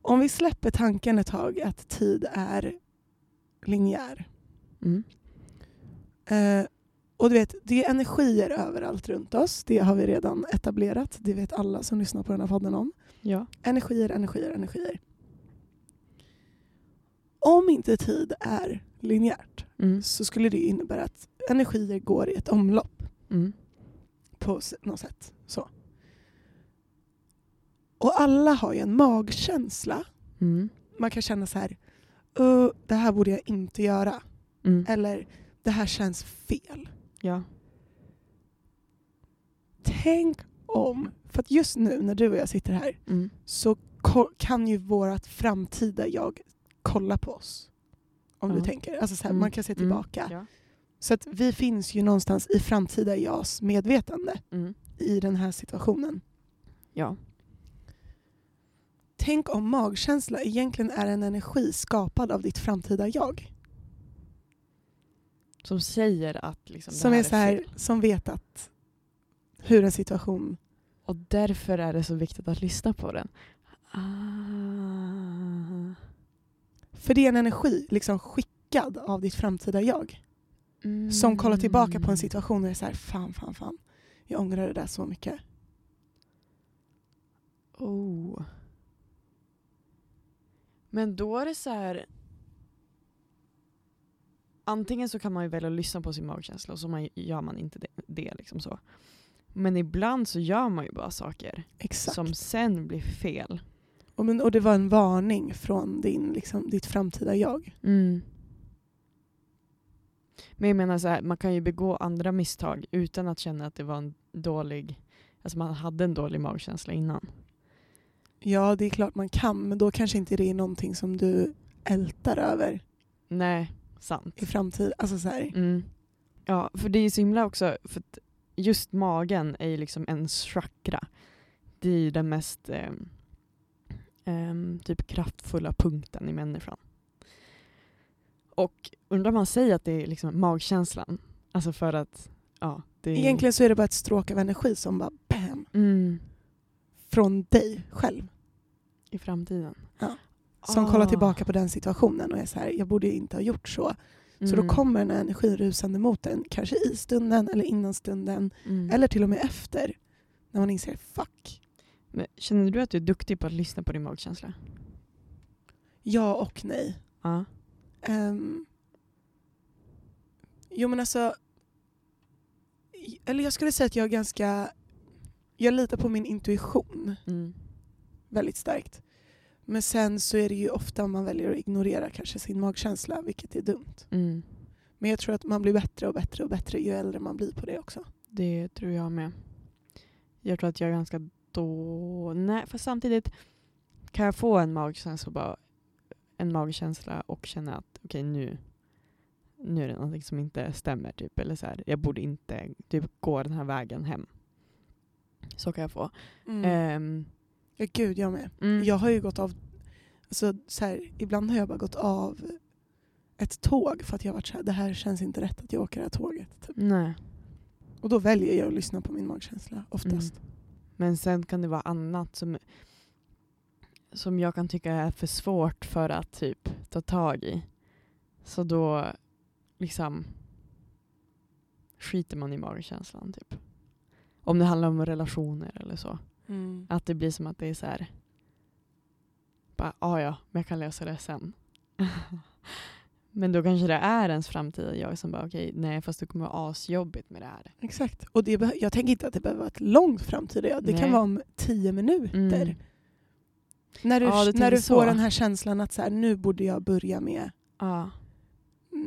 Speaker 1: Om vi släpper tanken ett tag att tid är linjär.
Speaker 2: Mm.
Speaker 1: Eh, och du vet, det är energier överallt runt oss. Det har vi redan etablerat. Det vet alla som lyssnar på den här podden om.
Speaker 2: Ja.
Speaker 1: Energier, energier, energier. Om inte tid är linjärt
Speaker 2: Mm.
Speaker 1: så skulle det innebära att energier går i ett omlopp
Speaker 2: Mm.
Speaker 1: på s- något sätt. Så. Och alla har ju en magkänsla
Speaker 2: Mm.
Speaker 1: man kan känna så här, "Uh, det här borde jag inte göra.
Speaker 2: Mm.
Speaker 1: Eller det här känns fel.
Speaker 2: Ja.
Speaker 1: Tänk om, för att just nu när du och jag sitter här
Speaker 2: Mm.
Speaker 1: så ko- kan ju vårt framtida jag kolla på oss. Om du
Speaker 2: Ja.
Speaker 1: tänker. Alltså så här,
Speaker 2: Mm.
Speaker 1: Man kan se
Speaker 2: Mm.
Speaker 1: tillbaka.
Speaker 2: Ja.
Speaker 1: Så att vi finns ju någonstans i framtida jags medvetande
Speaker 2: Mm.
Speaker 1: i den här situationen.
Speaker 2: Ja.
Speaker 1: Tänk om magkänsla egentligen är en energi skapad av ditt framtida jag.
Speaker 2: Som säger att liksom,
Speaker 1: Som,
Speaker 2: det
Speaker 1: är så här,
Speaker 2: fel.
Speaker 1: som vet att hur en situation
Speaker 2: Och därför är det så viktigt att lyssna på den. Ah.
Speaker 1: För det är en energi liksom skickad av ditt framtida jag
Speaker 2: Mm.
Speaker 1: som kollar tillbaka på en situation och är så här, fan, fan, fan. Jag ångrar det där så mycket.
Speaker 2: Oh. Men då är det så här... Antingen så kan man ju välja att lyssna på sin magkänsla och så man, gör man inte det. det liksom så. Men ibland så gör man ju bara saker
Speaker 1: Exakt.
Speaker 2: som sen blir fel.
Speaker 1: Och, men, och det var en varning från din, liksom, ditt framtida jag.
Speaker 2: Mm. Men jag menar så här, man kan ju begå andra misstag utan att känna att det var en dålig, alltså man hade en dålig magkänsla innan.
Speaker 1: Ja, det är klart man kan, men då kanske inte det är någonting som du ältar över
Speaker 2: Nej, sant.
Speaker 1: i framtiden. Alltså så här,
Speaker 2: Mm. Ja, för det är ju så himla också, för att just magen är ju liksom en chakra. Det är ju den mest ehm, ehm, typ kraftfulla punkten i människan. Och undrar om man säger att det är liksom magkänslan, alltså för att ja, det är
Speaker 1: egentligen så är det bara ett stråk av energi som bara bam,
Speaker 2: mm,
Speaker 1: från dig själv.
Speaker 2: i framtiden.
Speaker 1: Ja. Som
Speaker 2: Ah,
Speaker 1: kollar tillbaka på den situationen och är så här, jag borde ju inte ha gjort så. Så då
Speaker 2: mm,
Speaker 1: kommer den här energin rusande mot en, kanske i stunden eller innan stunden,
Speaker 2: mm.
Speaker 1: eller till och med efter, när man inser fuck.
Speaker 2: Men Känner du att du är duktig på att lyssna på din magkänsla?
Speaker 1: Ja och nej.
Speaker 2: Ja.
Speaker 1: Ehm, jo men alltså, eller jag skulle säga att jag är ganska, jag litar på min intuition
Speaker 2: Mm.
Speaker 1: väldigt starkt. Men sen så är det ju ofta man väljer att ignorera kanske sin magkänsla, vilket är dumt.
Speaker 2: Mm.
Speaker 1: Men jag tror att man blir bättre och bättre och bättre ju äldre man blir på det också.
Speaker 2: Det tror jag med. Jag tror att jag är ganska då... Nej, för samtidigt kan jag få en magkänsla, och bara, en magkänsla och känna att okej nu, nu är det någonting som inte stämmer. Typ. Eller så här, jag borde inte typ, gå den här vägen hem. Så kan jag få. Ehm,
Speaker 1: Ja, gud, jag med.
Speaker 2: mm,
Speaker 1: Jag har ju gått av, alltså, så här, ibland har jag bara gått av ett tåg för att jag har varit så här, det här känns inte rätt att jag åker det här tåget. Typ.
Speaker 2: Nej.
Speaker 1: Och då väljer jag att lyssna på min magkänsla oftast.
Speaker 2: Men sen kan det vara annat som, som jag kan tycka är för svårt för att typ ta tag i. Så då liksom skiter man i magkänslan typ. Mm. Om det handlar om relationer eller så. Att det blir som att det är så här bara, ja ja, men jag kan lösa det sen. [laughs] men då kanske det är ens framtida jag som bara, okej, nej fast det kommer vara asjobbigt med det här.
Speaker 1: Exakt. Och det, beh- jag tänker inte att det behöver vara ett långt framtida jag. Det
Speaker 2: Nej.
Speaker 1: kan vara om tio minuter.
Speaker 2: Mm.
Speaker 1: När du,
Speaker 2: Ja,
Speaker 1: när
Speaker 2: du
Speaker 1: du
Speaker 2: tänker så.
Speaker 1: får den här känslan att så här, nu borde jag börja med,
Speaker 2: Ja.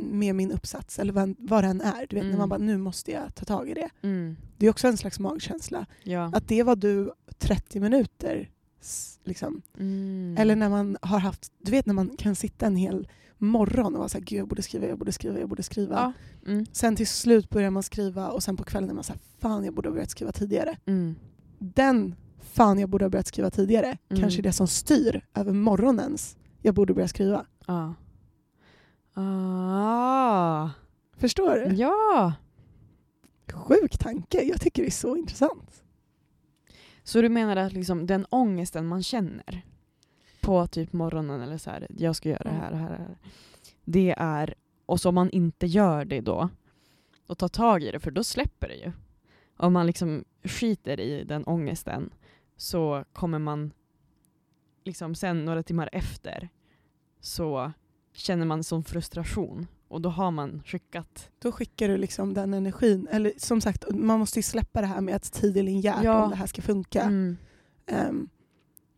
Speaker 1: med min uppsats eller vad, vad den är. Du vet när
Speaker 2: Mm.
Speaker 1: man bara, nu måste jag ta tag i det.
Speaker 2: Mm.
Speaker 1: Det är också en slags magkänsla.
Speaker 2: Ja.
Speaker 1: Att det var du 30 minuter. s- Liksom.
Speaker 2: Mm.
Speaker 1: Eller när man har haft, du vet när man kan sitta en hel morgon och vara såhär, gud jag borde skriva, jag borde skriva, jag borde skriva.
Speaker 2: Ja. Mm.
Speaker 1: Sen till slut börjar man skriva och sen på kvällen är man såhär, fan jag borde ha börjat skriva tidigare.
Speaker 2: Mm.
Speaker 1: Den, fan jag borde ha börjat skriva tidigare,
Speaker 2: Mm.
Speaker 1: kanske är det som styr över morgonens, jag borde börja skriva.
Speaker 2: Ja. Ah.
Speaker 1: Förstår du?
Speaker 2: Ja.
Speaker 1: Sjuk tanke, jag tycker det är så intressant.
Speaker 2: Så du menar att liksom den ångesten man känner på typ morgonen eller så här, jag ska göra det här och här, och här. Det är, och så om man inte gör det då och tar tag i det, för då släpper det ju. Om man liksom skiter i den ångesten så kommer man liksom sen några timmar efter så känner man sån frustration och då har man skickat.
Speaker 1: Då skickar du liksom den energin, eller som sagt man måste ju släppa det här med att tid är linjärt
Speaker 2: Ja.
Speaker 1: om det här ska funka.
Speaker 2: Mm.
Speaker 1: Ehm,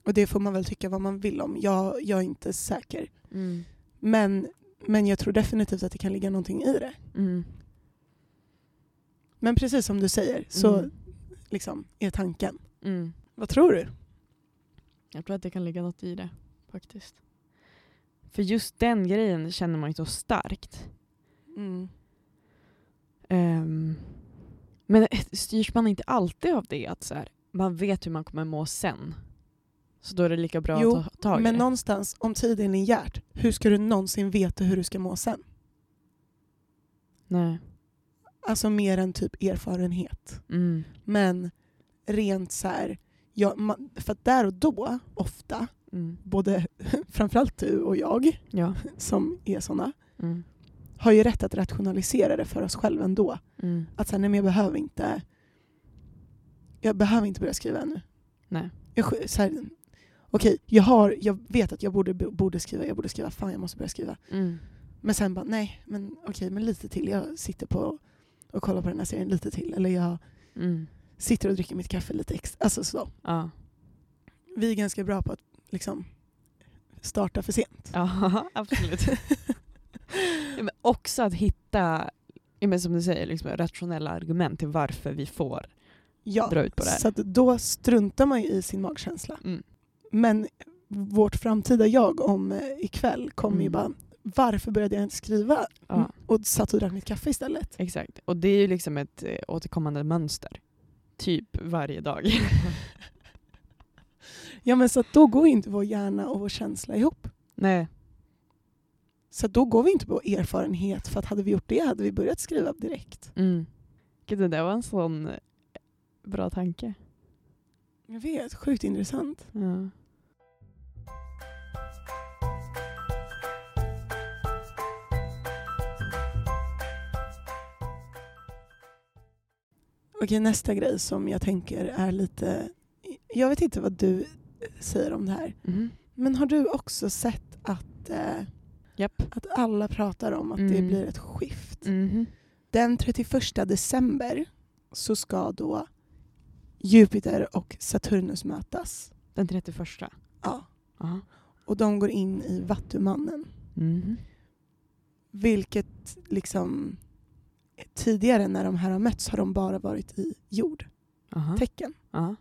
Speaker 1: och det får man väl tycka vad man vill om, jag, jag är inte säker.
Speaker 2: Mm.
Speaker 1: Men, men jag tror definitivt att det kan ligga någonting i det.
Speaker 2: Mm.
Speaker 1: Men precis som du säger så
Speaker 2: Mm.
Speaker 1: liksom, är tanken.
Speaker 2: Mm.
Speaker 1: Vad tror du?
Speaker 2: Jag tror att det kan ligga något i det faktiskt. För just den grejen känner man ju så starkt.
Speaker 1: Mm.
Speaker 2: Ehm, men [laughs] styrs man inte alltid av det att så här, man vet hur man kommer må sen? Så då är det lika bra
Speaker 1: Jo,
Speaker 2: att ta tag i
Speaker 1: Men
Speaker 2: det.
Speaker 1: någonstans, om tiden är linjärt, hur ska du någonsin veta hur du ska må sen?
Speaker 2: Nej.
Speaker 1: Alltså mer än typ erfarenhet.
Speaker 2: Mm.
Speaker 1: Men rent så här, ja, man, för att där och då, ofta,
Speaker 2: Mm.
Speaker 1: både [laughs] framförallt du och jag
Speaker 2: Ja.
Speaker 1: som är sådana,
Speaker 2: Mm.
Speaker 1: har ju rätt att rationalisera det för oss själva ändå.
Speaker 2: Mm.
Speaker 1: Att så här, nej men jag behöver inte, jag behöver inte börja skriva ännu.
Speaker 2: Nej.
Speaker 1: Jag, sk- så här, okej, jag, har, jag vet att jag borde, borde skriva, jag borde skriva, fan jag måste börja skriva.
Speaker 2: Mm.
Speaker 1: Men sen bara, nej, men okej, men lite till. Jag sitter på och kollar på den här serien lite till. Eller jag
Speaker 2: Mm.
Speaker 1: sitter och dricker mitt kaffe lite extra. Alltså så.
Speaker 2: Ja.
Speaker 1: Vi är ganska bra på att liksom starta för sent.
Speaker 2: Ja, [laughs] absolut.
Speaker 1: [laughs]
Speaker 2: Ja, men också att hitta, ja, men som du säger, liksom, rationella argument till varför vi får
Speaker 1: Ja,
Speaker 2: dra ut på det här.
Speaker 1: så att då struntar man ju i sin magkänsla.
Speaker 2: Mm.
Speaker 1: Men vårt framtida jag om eh, ikväll kommer ju
Speaker 2: Mm.
Speaker 1: bara, varför började jag inte skriva?
Speaker 2: Ja.
Speaker 1: Och satt och drack mitt kaffe istället.
Speaker 2: Exakt. Och det är ju liksom ett eh, återkommande mönster. Typ varje dag. [laughs]
Speaker 1: Ja men så att då går ju inte vår hjärna och vår känsla ihop.
Speaker 2: Nej.
Speaker 1: Så att då går vi inte på erfarenhet för att hade vi gjort det hade vi börjat skriva direkt.
Speaker 2: Mm. Gud, det där var en sån eh, bra tanke.
Speaker 1: Jag vet, sjukt intressant.
Speaker 2: Ja.
Speaker 1: Okej, nästa grej som jag tänker är lite... Jag vet inte vad du eh, säger om det här.
Speaker 2: Mhm.
Speaker 1: Men har du också sett att, eh,
Speaker 2: Japp.
Speaker 1: att alla pratar om att det
Speaker 2: Mm.
Speaker 1: blir ett skift?
Speaker 2: Mhm.
Speaker 1: Den 31 december så ska då Jupiter och Saturnus mötas.
Speaker 2: Den 31.
Speaker 1: Ja.
Speaker 2: Aha.
Speaker 1: Och de går in i Vattumannen.
Speaker 2: Mhm.
Speaker 1: Vilket liksom... Tidigare när de här har mötts har de bara varit i
Speaker 2: Aha.
Speaker 1: jordtecken.
Speaker 2: Ja.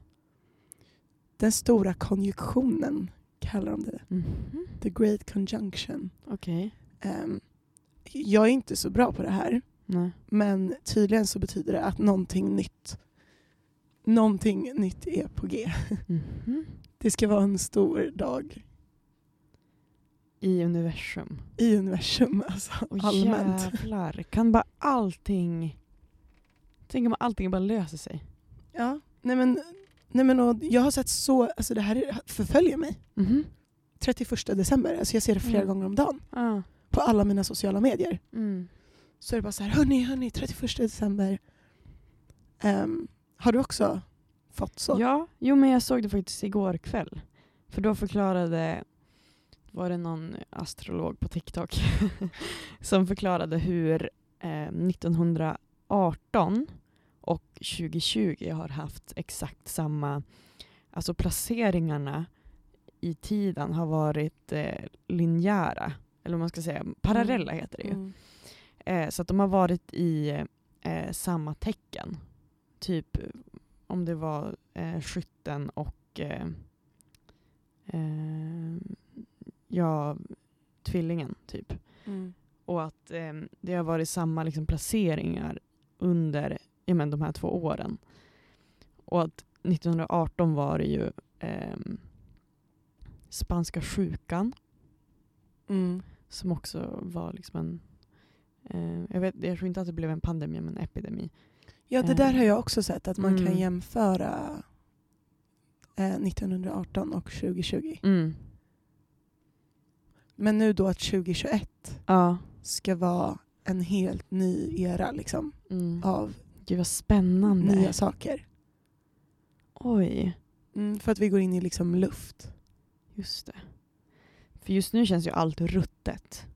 Speaker 1: Den stora konjunktionen kallar de det.
Speaker 2: Mhm.
Speaker 1: The Great Conjunction.
Speaker 2: Okej.
Speaker 1: Ehm, jag är inte så bra på det här
Speaker 2: Nej.
Speaker 1: men tydligen så betyder det att någonting nytt någonting nytt är på G.
Speaker 2: Mhm.
Speaker 1: Det ska vara en stor dag
Speaker 2: I universum.
Speaker 1: i universum. Alltså,
Speaker 2: Och
Speaker 1: allmänt.
Speaker 2: jävlar. Kan bara allting... Tänk om allting bara löser sig.
Speaker 1: Ja. Nej men, nej men och jag har sett så, alltså det här är- förföljer mig.
Speaker 2: Mhm.
Speaker 1: 31 december, alltså jag ser det flera
Speaker 2: Mm.
Speaker 1: gånger om dagen
Speaker 2: Ja.
Speaker 1: på alla mina sociala medier.
Speaker 2: Mm.
Speaker 1: så är det bara så här, hörni, hörni, 31 december. Ehm, har du också fått så?
Speaker 2: Ja, jo men jag såg det faktiskt igår kväll. För då förklarade var det någon astrolog på TikTok [laughs] som förklarade hur eh, 1918 och 2020 har haft exakt samma, alltså placeringarna i tiden har varit eh, linjära, eller vad man ska säga, parallella heter det ju.
Speaker 1: Mm.
Speaker 2: Eh, så att de har varit i eh, samma tecken. Typ om det var eh, skytten och eh, eh, ja, tvillingen typ.
Speaker 1: Mm.
Speaker 2: Och att eh, det har varit samma liksom, placeringar under ja, men, de här två åren. Och att 1918 var det ju ehm, spanska sjukan
Speaker 1: Mm.
Speaker 2: som också var liksom en... Eh, jag, vet, jag tror inte att det blev en pandemi, men en epidemi.
Speaker 1: Ja, det
Speaker 2: Eh.
Speaker 1: där har jag också sett, att man
Speaker 2: Mm.
Speaker 1: kan jämföra eh, 1918 och 2020.
Speaker 2: Mm.
Speaker 1: Men nu då att 2021
Speaker 2: Ja.
Speaker 1: ska vara en helt ny era liksom,
Speaker 2: Mm.
Speaker 1: av
Speaker 2: Gud vad spännande.
Speaker 1: nya saker.
Speaker 2: Oj,
Speaker 1: Mm, för att vi går in i liksom luft.
Speaker 2: just det. För just nu känns ju allt ruttet.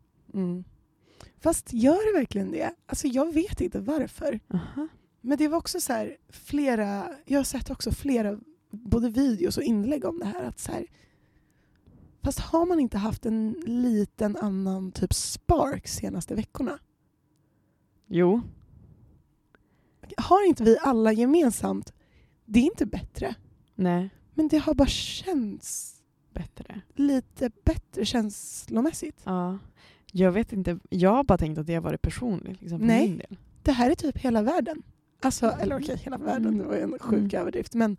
Speaker 1: Fast gör det verkligen det? Alltså jag vet inte varför.
Speaker 2: Aha.
Speaker 1: Men det var också så här, flera, jag har sett också flera både videos och inlägg om det här. Att så här fast har man inte haft en liten annan typ spark senaste veckorna?
Speaker 2: Jo.
Speaker 1: Har inte vi alla gemensamt, det är inte bättre,
Speaker 2: Nej,
Speaker 1: men det har bara känts
Speaker 2: bättre.
Speaker 1: lite bättre känslomässigt.
Speaker 2: Ja. Jag vet inte, jag har bara tänkt att det har varit personligt liksom, för
Speaker 1: Nej.
Speaker 2: min del.
Speaker 1: Det här är typ hela världen. Alltså, eller okej, hela världen, det var ju en sjuk
Speaker 2: Mm.
Speaker 1: överdrift. Men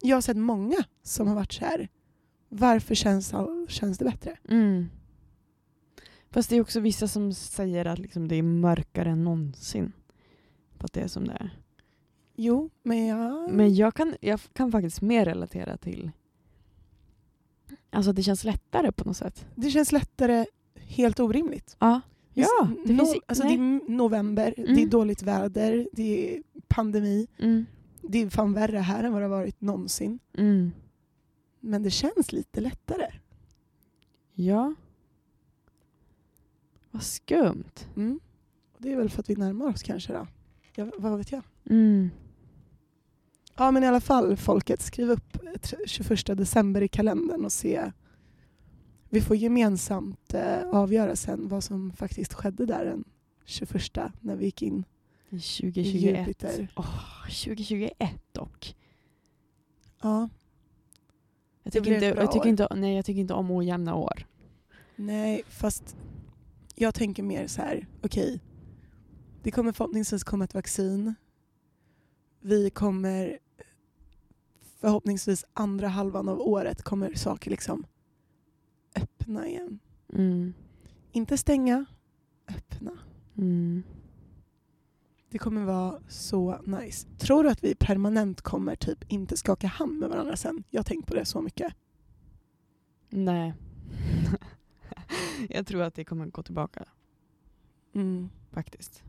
Speaker 1: jag har sett många som har varit så här, varför känns, känns det bättre?
Speaker 2: Mm. Fast det är också vissa som säger att liksom, det är mörkare än någonsin. För att det är som det är.
Speaker 1: Jo, men jag...
Speaker 2: Men jag kan, jag kan faktiskt mer relatera till Alltså att det känns lättare på något sätt.
Speaker 1: Det känns lättare helt orimligt.
Speaker 2: Ja.
Speaker 1: Visst,
Speaker 2: Ja, det
Speaker 1: no,
Speaker 2: finns i-
Speaker 1: alltså det
Speaker 2: nej.
Speaker 1: är november,
Speaker 2: Mm.
Speaker 1: det är dåligt väder, det är pandemi.
Speaker 2: Mm.
Speaker 1: Det är fan värre här än vad det har varit någonsin.
Speaker 2: Mm.
Speaker 1: Men det känns lite lättare.
Speaker 2: Ja. Vad skumt.
Speaker 1: Mm. Och det är väl för att vi närmar oss kanske då. Ja, vad vet jag?
Speaker 2: Mm.
Speaker 1: Ja men i alla fall folket, skriv upp eh, tr- 21 december i kalendern och se. Vi får gemensamt eh, avgöra sen vad som faktiskt skedde där den 21 när vi gick in.
Speaker 2: I 2021.
Speaker 1: Jupiter.
Speaker 2: Åh, 2021 dock.
Speaker 1: Ja,
Speaker 2: Jag
Speaker 1: Det
Speaker 2: tycker,
Speaker 1: blir
Speaker 2: inte,
Speaker 1: ett bra
Speaker 2: jag, tycker
Speaker 1: år.
Speaker 2: inte, nej, jag tycker inte om ojämna år.
Speaker 1: nej fast jag tänker mer så här, okej. det kommer förhoppningsvis komma ett vaccin. Vi kommer förhoppningsvis andra halvan av året kommer saker liksom öppna igen.
Speaker 2: Mm.
Speaker 1: Inte stänga, öppna.
Speaker 2: Mm.
Speaker 1: Det kommer vara så nice. Tror du att vi permanent kommer typ inte skaka hand med varandra sen? Jag har tänkt på det så mycket.
Speaker 2: Nej. [laughs] jag tror att det kommer gå tillbaka faktiskt.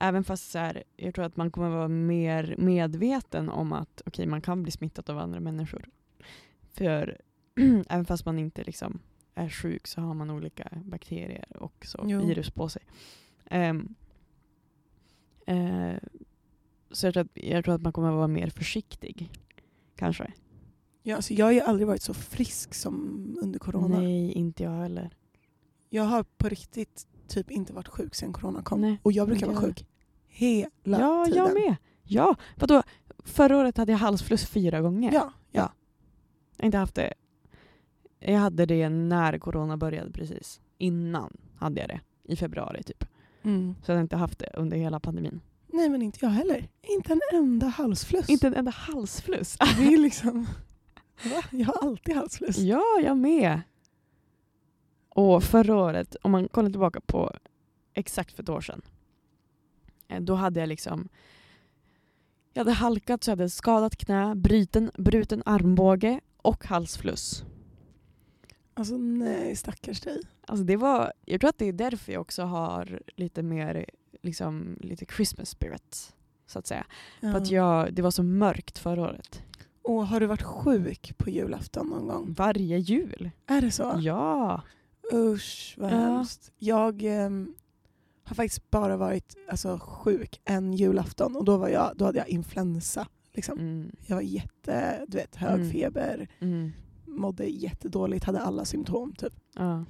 Speaker 2: Även fast så här, jag tror att man kommer vara mer medveten om att okej, man kan bli smittad av andra människor. För [clears throat] även fast man inte liksom är sjuk så har man olika bakterier och så
Speaker 1: Jo.
Speaker 2: virus på sig. Ehm, eh, så jag tror, att, jag tror att man kommer vara mer försiktig. Kanske.
Speaker 1: Ja, alltså jag har ju aldrig varit så frisk som under corona.
Speaker 2: Nej, inte jag heller.
Speaker 1: Jag har på riktigt typ inte varit sjuk sen corona kom.
Speaker 2: Nej,
Speaker 1: Och jag brukar
Speaker 2: inte
Speaker 1: vara
Speaker 2: jag
Speaker 1: sjuk hela
Speaker 2: Ja,
Speaker 1: tiden.
Speaker 2: jag med. Ja, vadå? Förra året hade jag halsfluss fyra gånger.
Speaker 1: Ja, ja.
Speaker 2: Jag har inte haft det. Jag hade det när corona började precis. Innan hade jag det. I februari typ. Så jag har inte haft det under hela pandemin.
Speaker 1: Nej men inte jag heller. Inte en enda halsfluss.
Speaker 2: Inte en enda halsfluss.
Speaker 1: Det är liksom... Va? Jag har alltid halsfluss.
Speaker 2: ja, jag med. Och förra året, om man kollar tillbaka på exakt för ett år sedan. eh, Då hade jag liksom jag hade halkat så jag hade skadat knä, bruten, bruten armbåge och halsfluss.
Speaker 1: Alltså nej stackars dig.
Speaker 2: Alltså det var, jag tror att det är därför jag också har lite mer liksom, lite Christmas spirit. Så att säga.
Speaker 1: Ja.
Speaker 2: För att jag, det var så mörkt förra året.
Speaker 1: Och har du varit sjuk på julafton någon gång?
Speaker 2: Varje jul.
Speaker 1: Är det så?
Speaker 2: Ja.
Speaker 1: Usch, vad
Speaker 2: Ja.
Speaker 1: hemskt. Jag ehm, har faktiskt bara varit alltså, sjuk en julafton och då, var jag, då hade jag influensa. Liksom.
Speaker 2: Mm.
Speaker 1: Jag var jätte, du vet, hög
Speaker 2: Mm.
Speaker 1: feber,
Speaker 2: Mm.
Speaker 1: mådde jättedåligt, hade alla symptom typ.
Speaker 2: Ja.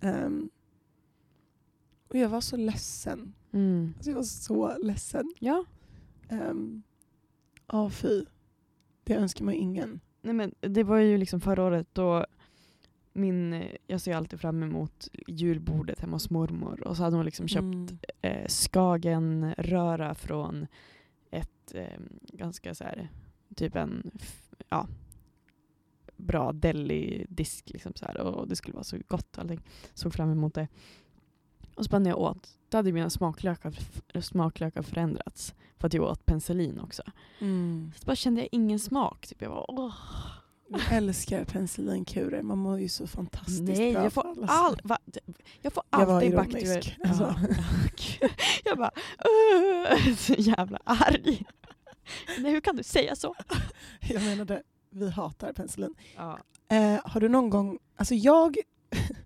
Speaker 1: Ehm, och jag var så ledsen.
Speaker 2: Mm.
Speaker 1: Alltså, jag var så ledsen.
Speaker 2: ja.
Speaker 1: Um, ja, fy. Det önskar man ju ingen.
Speaker 2: Nej, men det var ju liksom förra året då min, eh, jag ser alltid fram emot julbordet hemma hos mormor och så hade hon liksom köpt
Speaker 1: Mm.
Speaker 2: eh, skagenröra från ett eh, ganska så här, typ en f- ja, bra deli-disk liksom så här, och det skulle vara så gott och allting. Såg fram emot det. Och så bara när jag åt, då hade mina smaklökar, smaklökar förändrats för att jag åt penicillin också. Så bara kände jag ingen smak. Typ jag var åh,
Speaker 1: Jag älskar penicillinkurer. Man mår ju så fantastiskt
Speaker 2: nej,
Speaker 1: bra.
Speaker 2: jag får,
Speaker 1: för alla
Speaker 2: all, va, jag får
Speaker 1: Jag var
Speaker 2: alltid
Speaker 1: ironisk,
Speaker 2: bakterier.
Speaker 1: alltså.
Speaker 2: Ja. [laughs] jag bara, "Åh", så jävla arg. Nej, hur kan du säga så?
Speaker 1: [laughs] Jag menade, vi hatar penicillin.
Speaker 2: Ja,
Speaker 1: Eh, har du någon gång, alltså jag,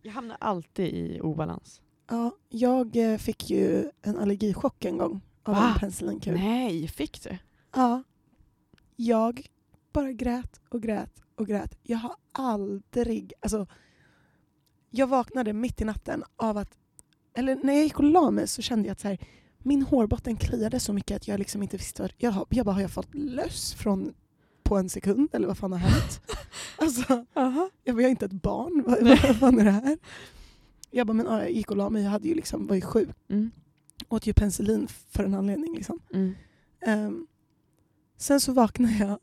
Speaker 2: jag hamnar alltid i obalans.
Speaker 1: ja, jag eh, fick ju en allergichock en gång av
Speaker 2: Va?
Speaker 1: en penicillinkur.
Speaker 2: Nej, fick du?
Speaker 1: Ja. Jag bara grät och grät och grät. Jag har aldrig, alltså jag vaknade mitt i natten av att, eller när jag gick och la mig så kände jag att så här, min hårbotten kliade så mycket att jag liksom inte visste vad, jag, har- jag bara har jag fått löss från på en sekund eller vad fan har hänt? alltså jag var jag är inte ett barn, vad, vad fan är det här? Jag bara, men ja, jag gick och la mig, jag hade ju liksom, var ju sjuk.
Speaker 2: Mm.
Speaker 1: Åt ju penicillin för en anledning liksom.
Speaker 2: Mm.
Speaker 1: Ehm, sen så vaknar jag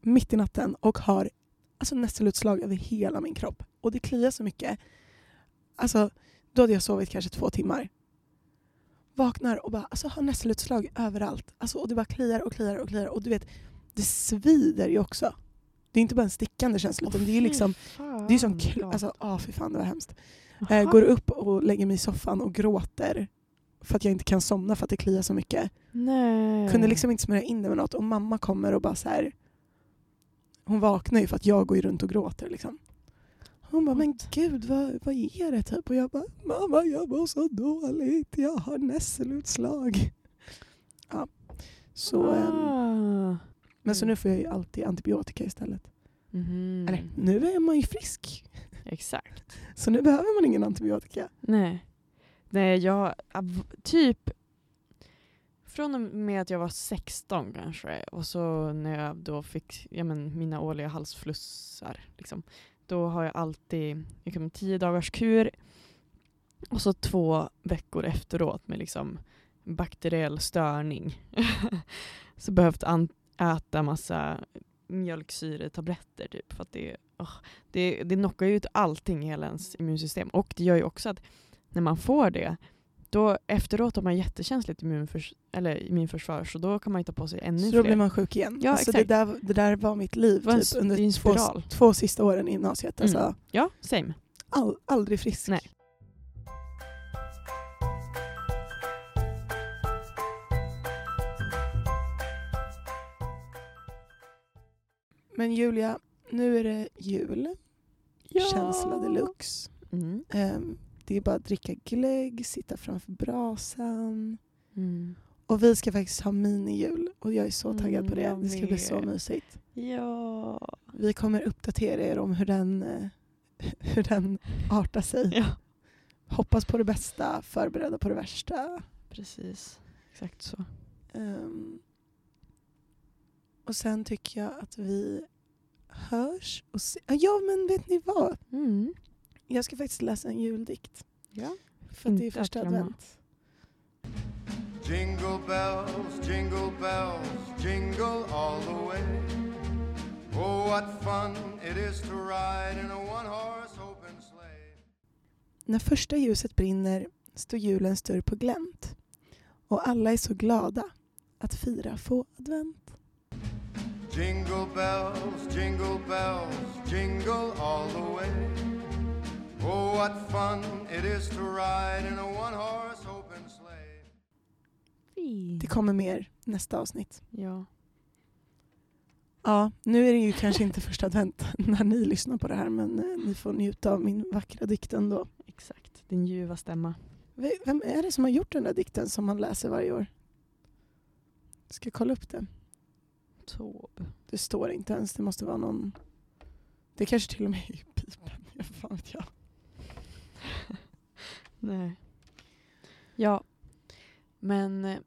Speaker 1: mitt i natten och har alltså, nässelutslag över hela min kropp. Och det kliar så mycket. Alltså, då hade jag sovit kanske två timmar. Vaknar och bara, alltså, har nässelutslag överallt. Alltså, och det bara kliar och kliar och kliar. Och du vet, det svider ju också. Det är inte bara en stickande känsla utan det är ju liksom det är ju som kl- alltså, ah, för fan det var hemskt. Eh, går upp och lägger mig i soffan och gråter för att jag inte kan somna för att det kliar så mycket.
Speaker 2: Nej.
Speaker 1: Kunde liksom inte smörja in det med något och mamma kommer och bara så här. Hon vaknar ju för att jag går ju runt och gråter liksom. Hon bara, men gud vad, vad är det typ? Och jag bara, mamma jag mår så dåligt, jag har nässelutslag. Ja. Så, ehm,
Speaker 2: Ah.
Speaker 1: men så nu får jag ju alltid antibiotika istället.
Speaker 2: Mhm.
Speaker 1: Eller nu är man ju frisk,
Speaker 2: Exakt.
Speaker 1: så nu behöver man ingen antibiotika.
Speaker 2: Nej. Nej, jag av- typ från och med att jag var 16 kanske och så när jag då fick ja, men, mina årliga halsflussar liksom, då har jag alltid liksom, tio dagars kur och så två veckor efteråt med liksom bakteriell störning. [laughs] så behövt an- äta massa mjölksyretabletter typ för att det, åh, det, det knockar ju ut allting i hela ens immunsystem och det gör ju också att när man får det då efteråt har man jättekänsligt immunförs- eller immunförsvar så då kan man ju ta på sig ännu
Speaker 1: Så
Speaker 2: fler.
Speaker 1: då blir man sjuk igen.
Speaker 2: Ja,
Speaker 1: alltså det,
Speaker 2: exakt.
Speaker 1: där, det där var mitt liv
Speaker 2: Det var en s-
Speaker 1: typ, under
Speaker 2: det är en
Speaker 1: två,
Speaker 2: spiral.
Speaker 1: två sista åren i gymnasiet. Alltså,
Speaker 2: Mm. Ja, same.
Speaker 1: all, aldrig frisk.
Speaker 2: Nej.
Speaker 1: Men Julia, nu är det jul, känsla deluxe.
Speaker 2: Mm.
Speaker 1: Ehm, det är bara att dricka glögg, sitta framför brasan.
Speaker 2: Mm.
Speaker 1: Och vi ska faktiskt ha minijul och jag är så taggad
Speaker 2: Mm,
Speaker 1: på det.
Speaker 2: jag
Speaker 1: Det ska bli så
Speaker 2: vet.
Speaker 1: mysigt.
Speaker 2: Ja.
Speaker 1: Vi kommer uppdatera er om hur den, eh, [laughs] hur den artar sig.
Speaker 2: ja.
Speaker 1: Hoppas på det bästa, förberedda på det värsta.
Speaker 2: Precis. Exakt så.
Speaker 1: Ehm, och sen tycker jag att vi hörs och se- Ah, Ja, men vet ni vad?
Speaker 2: Mm.
Speaker 1: Jag ska faktiskt läsa en juldikt.
Speaker 2: Ja.
Speaker 1: För att det är
Speaker 2: Inte att
Speaker 1: första
Speaker 2: glömma.
Speaker 1: advent.
Speaker 3: Jingle bells, jingle bells, jingle all the way. Oh, what fun it is to ride in a one horse open sleigh.
Speaker 1: När första ljuset brinner står julens dörr på glänt. Och alla är så glada att fira få advent.
Speaker 3: Jingle bells, jingle bells, jingle all the way. Oh, what fun it is to ride in a one horse open sleigh.
Speaker 1: Det kommer mer nästa avsnitt.
Speaker 2: Ja.
Speaker 1: Ja, nu är det ju kanske inte första advent [laughs] när ni lyssnar på det här men eh, ni får njuta av min vackra dikt ändå.
Speaker 2: Exakt, din ljuva stämma.
Speaker 1: V- Vem är det som har gjort den där dikten som man läser varje år? Ska kolla upp den.
Speaker 2: Tob.
Speaker 1: Det står inte ens, det måste vara någon... Det kanske till och med är i pipen, [laughs] jag fan vet jag.
Speaker 2: Nej. Ja. Men eh,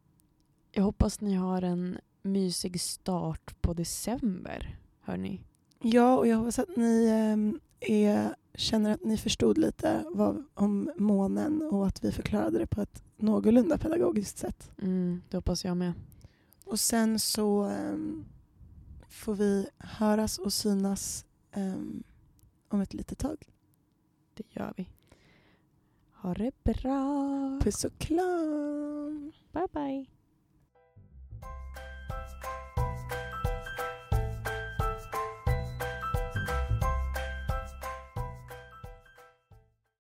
Speaker 2: jag hoppas ni har en mysig start på december, hörni.
Speaker 1: Ja, och jag hoppas att ni ehm, är, känner att ni förstod lite vad, om månen och att vi förklarade det på ett någorlunda pedagogiskt sätt.
Speaker 2: Mm, det hoppas jag med.
Speaker 1: Och sen så ehm, får vi höras och synas ehm, om ett litet tag.
Speaker 2: Det gör vi. Ha det bra.
Speaker 1: Puss och kram!
Speaker 2: Bye bye.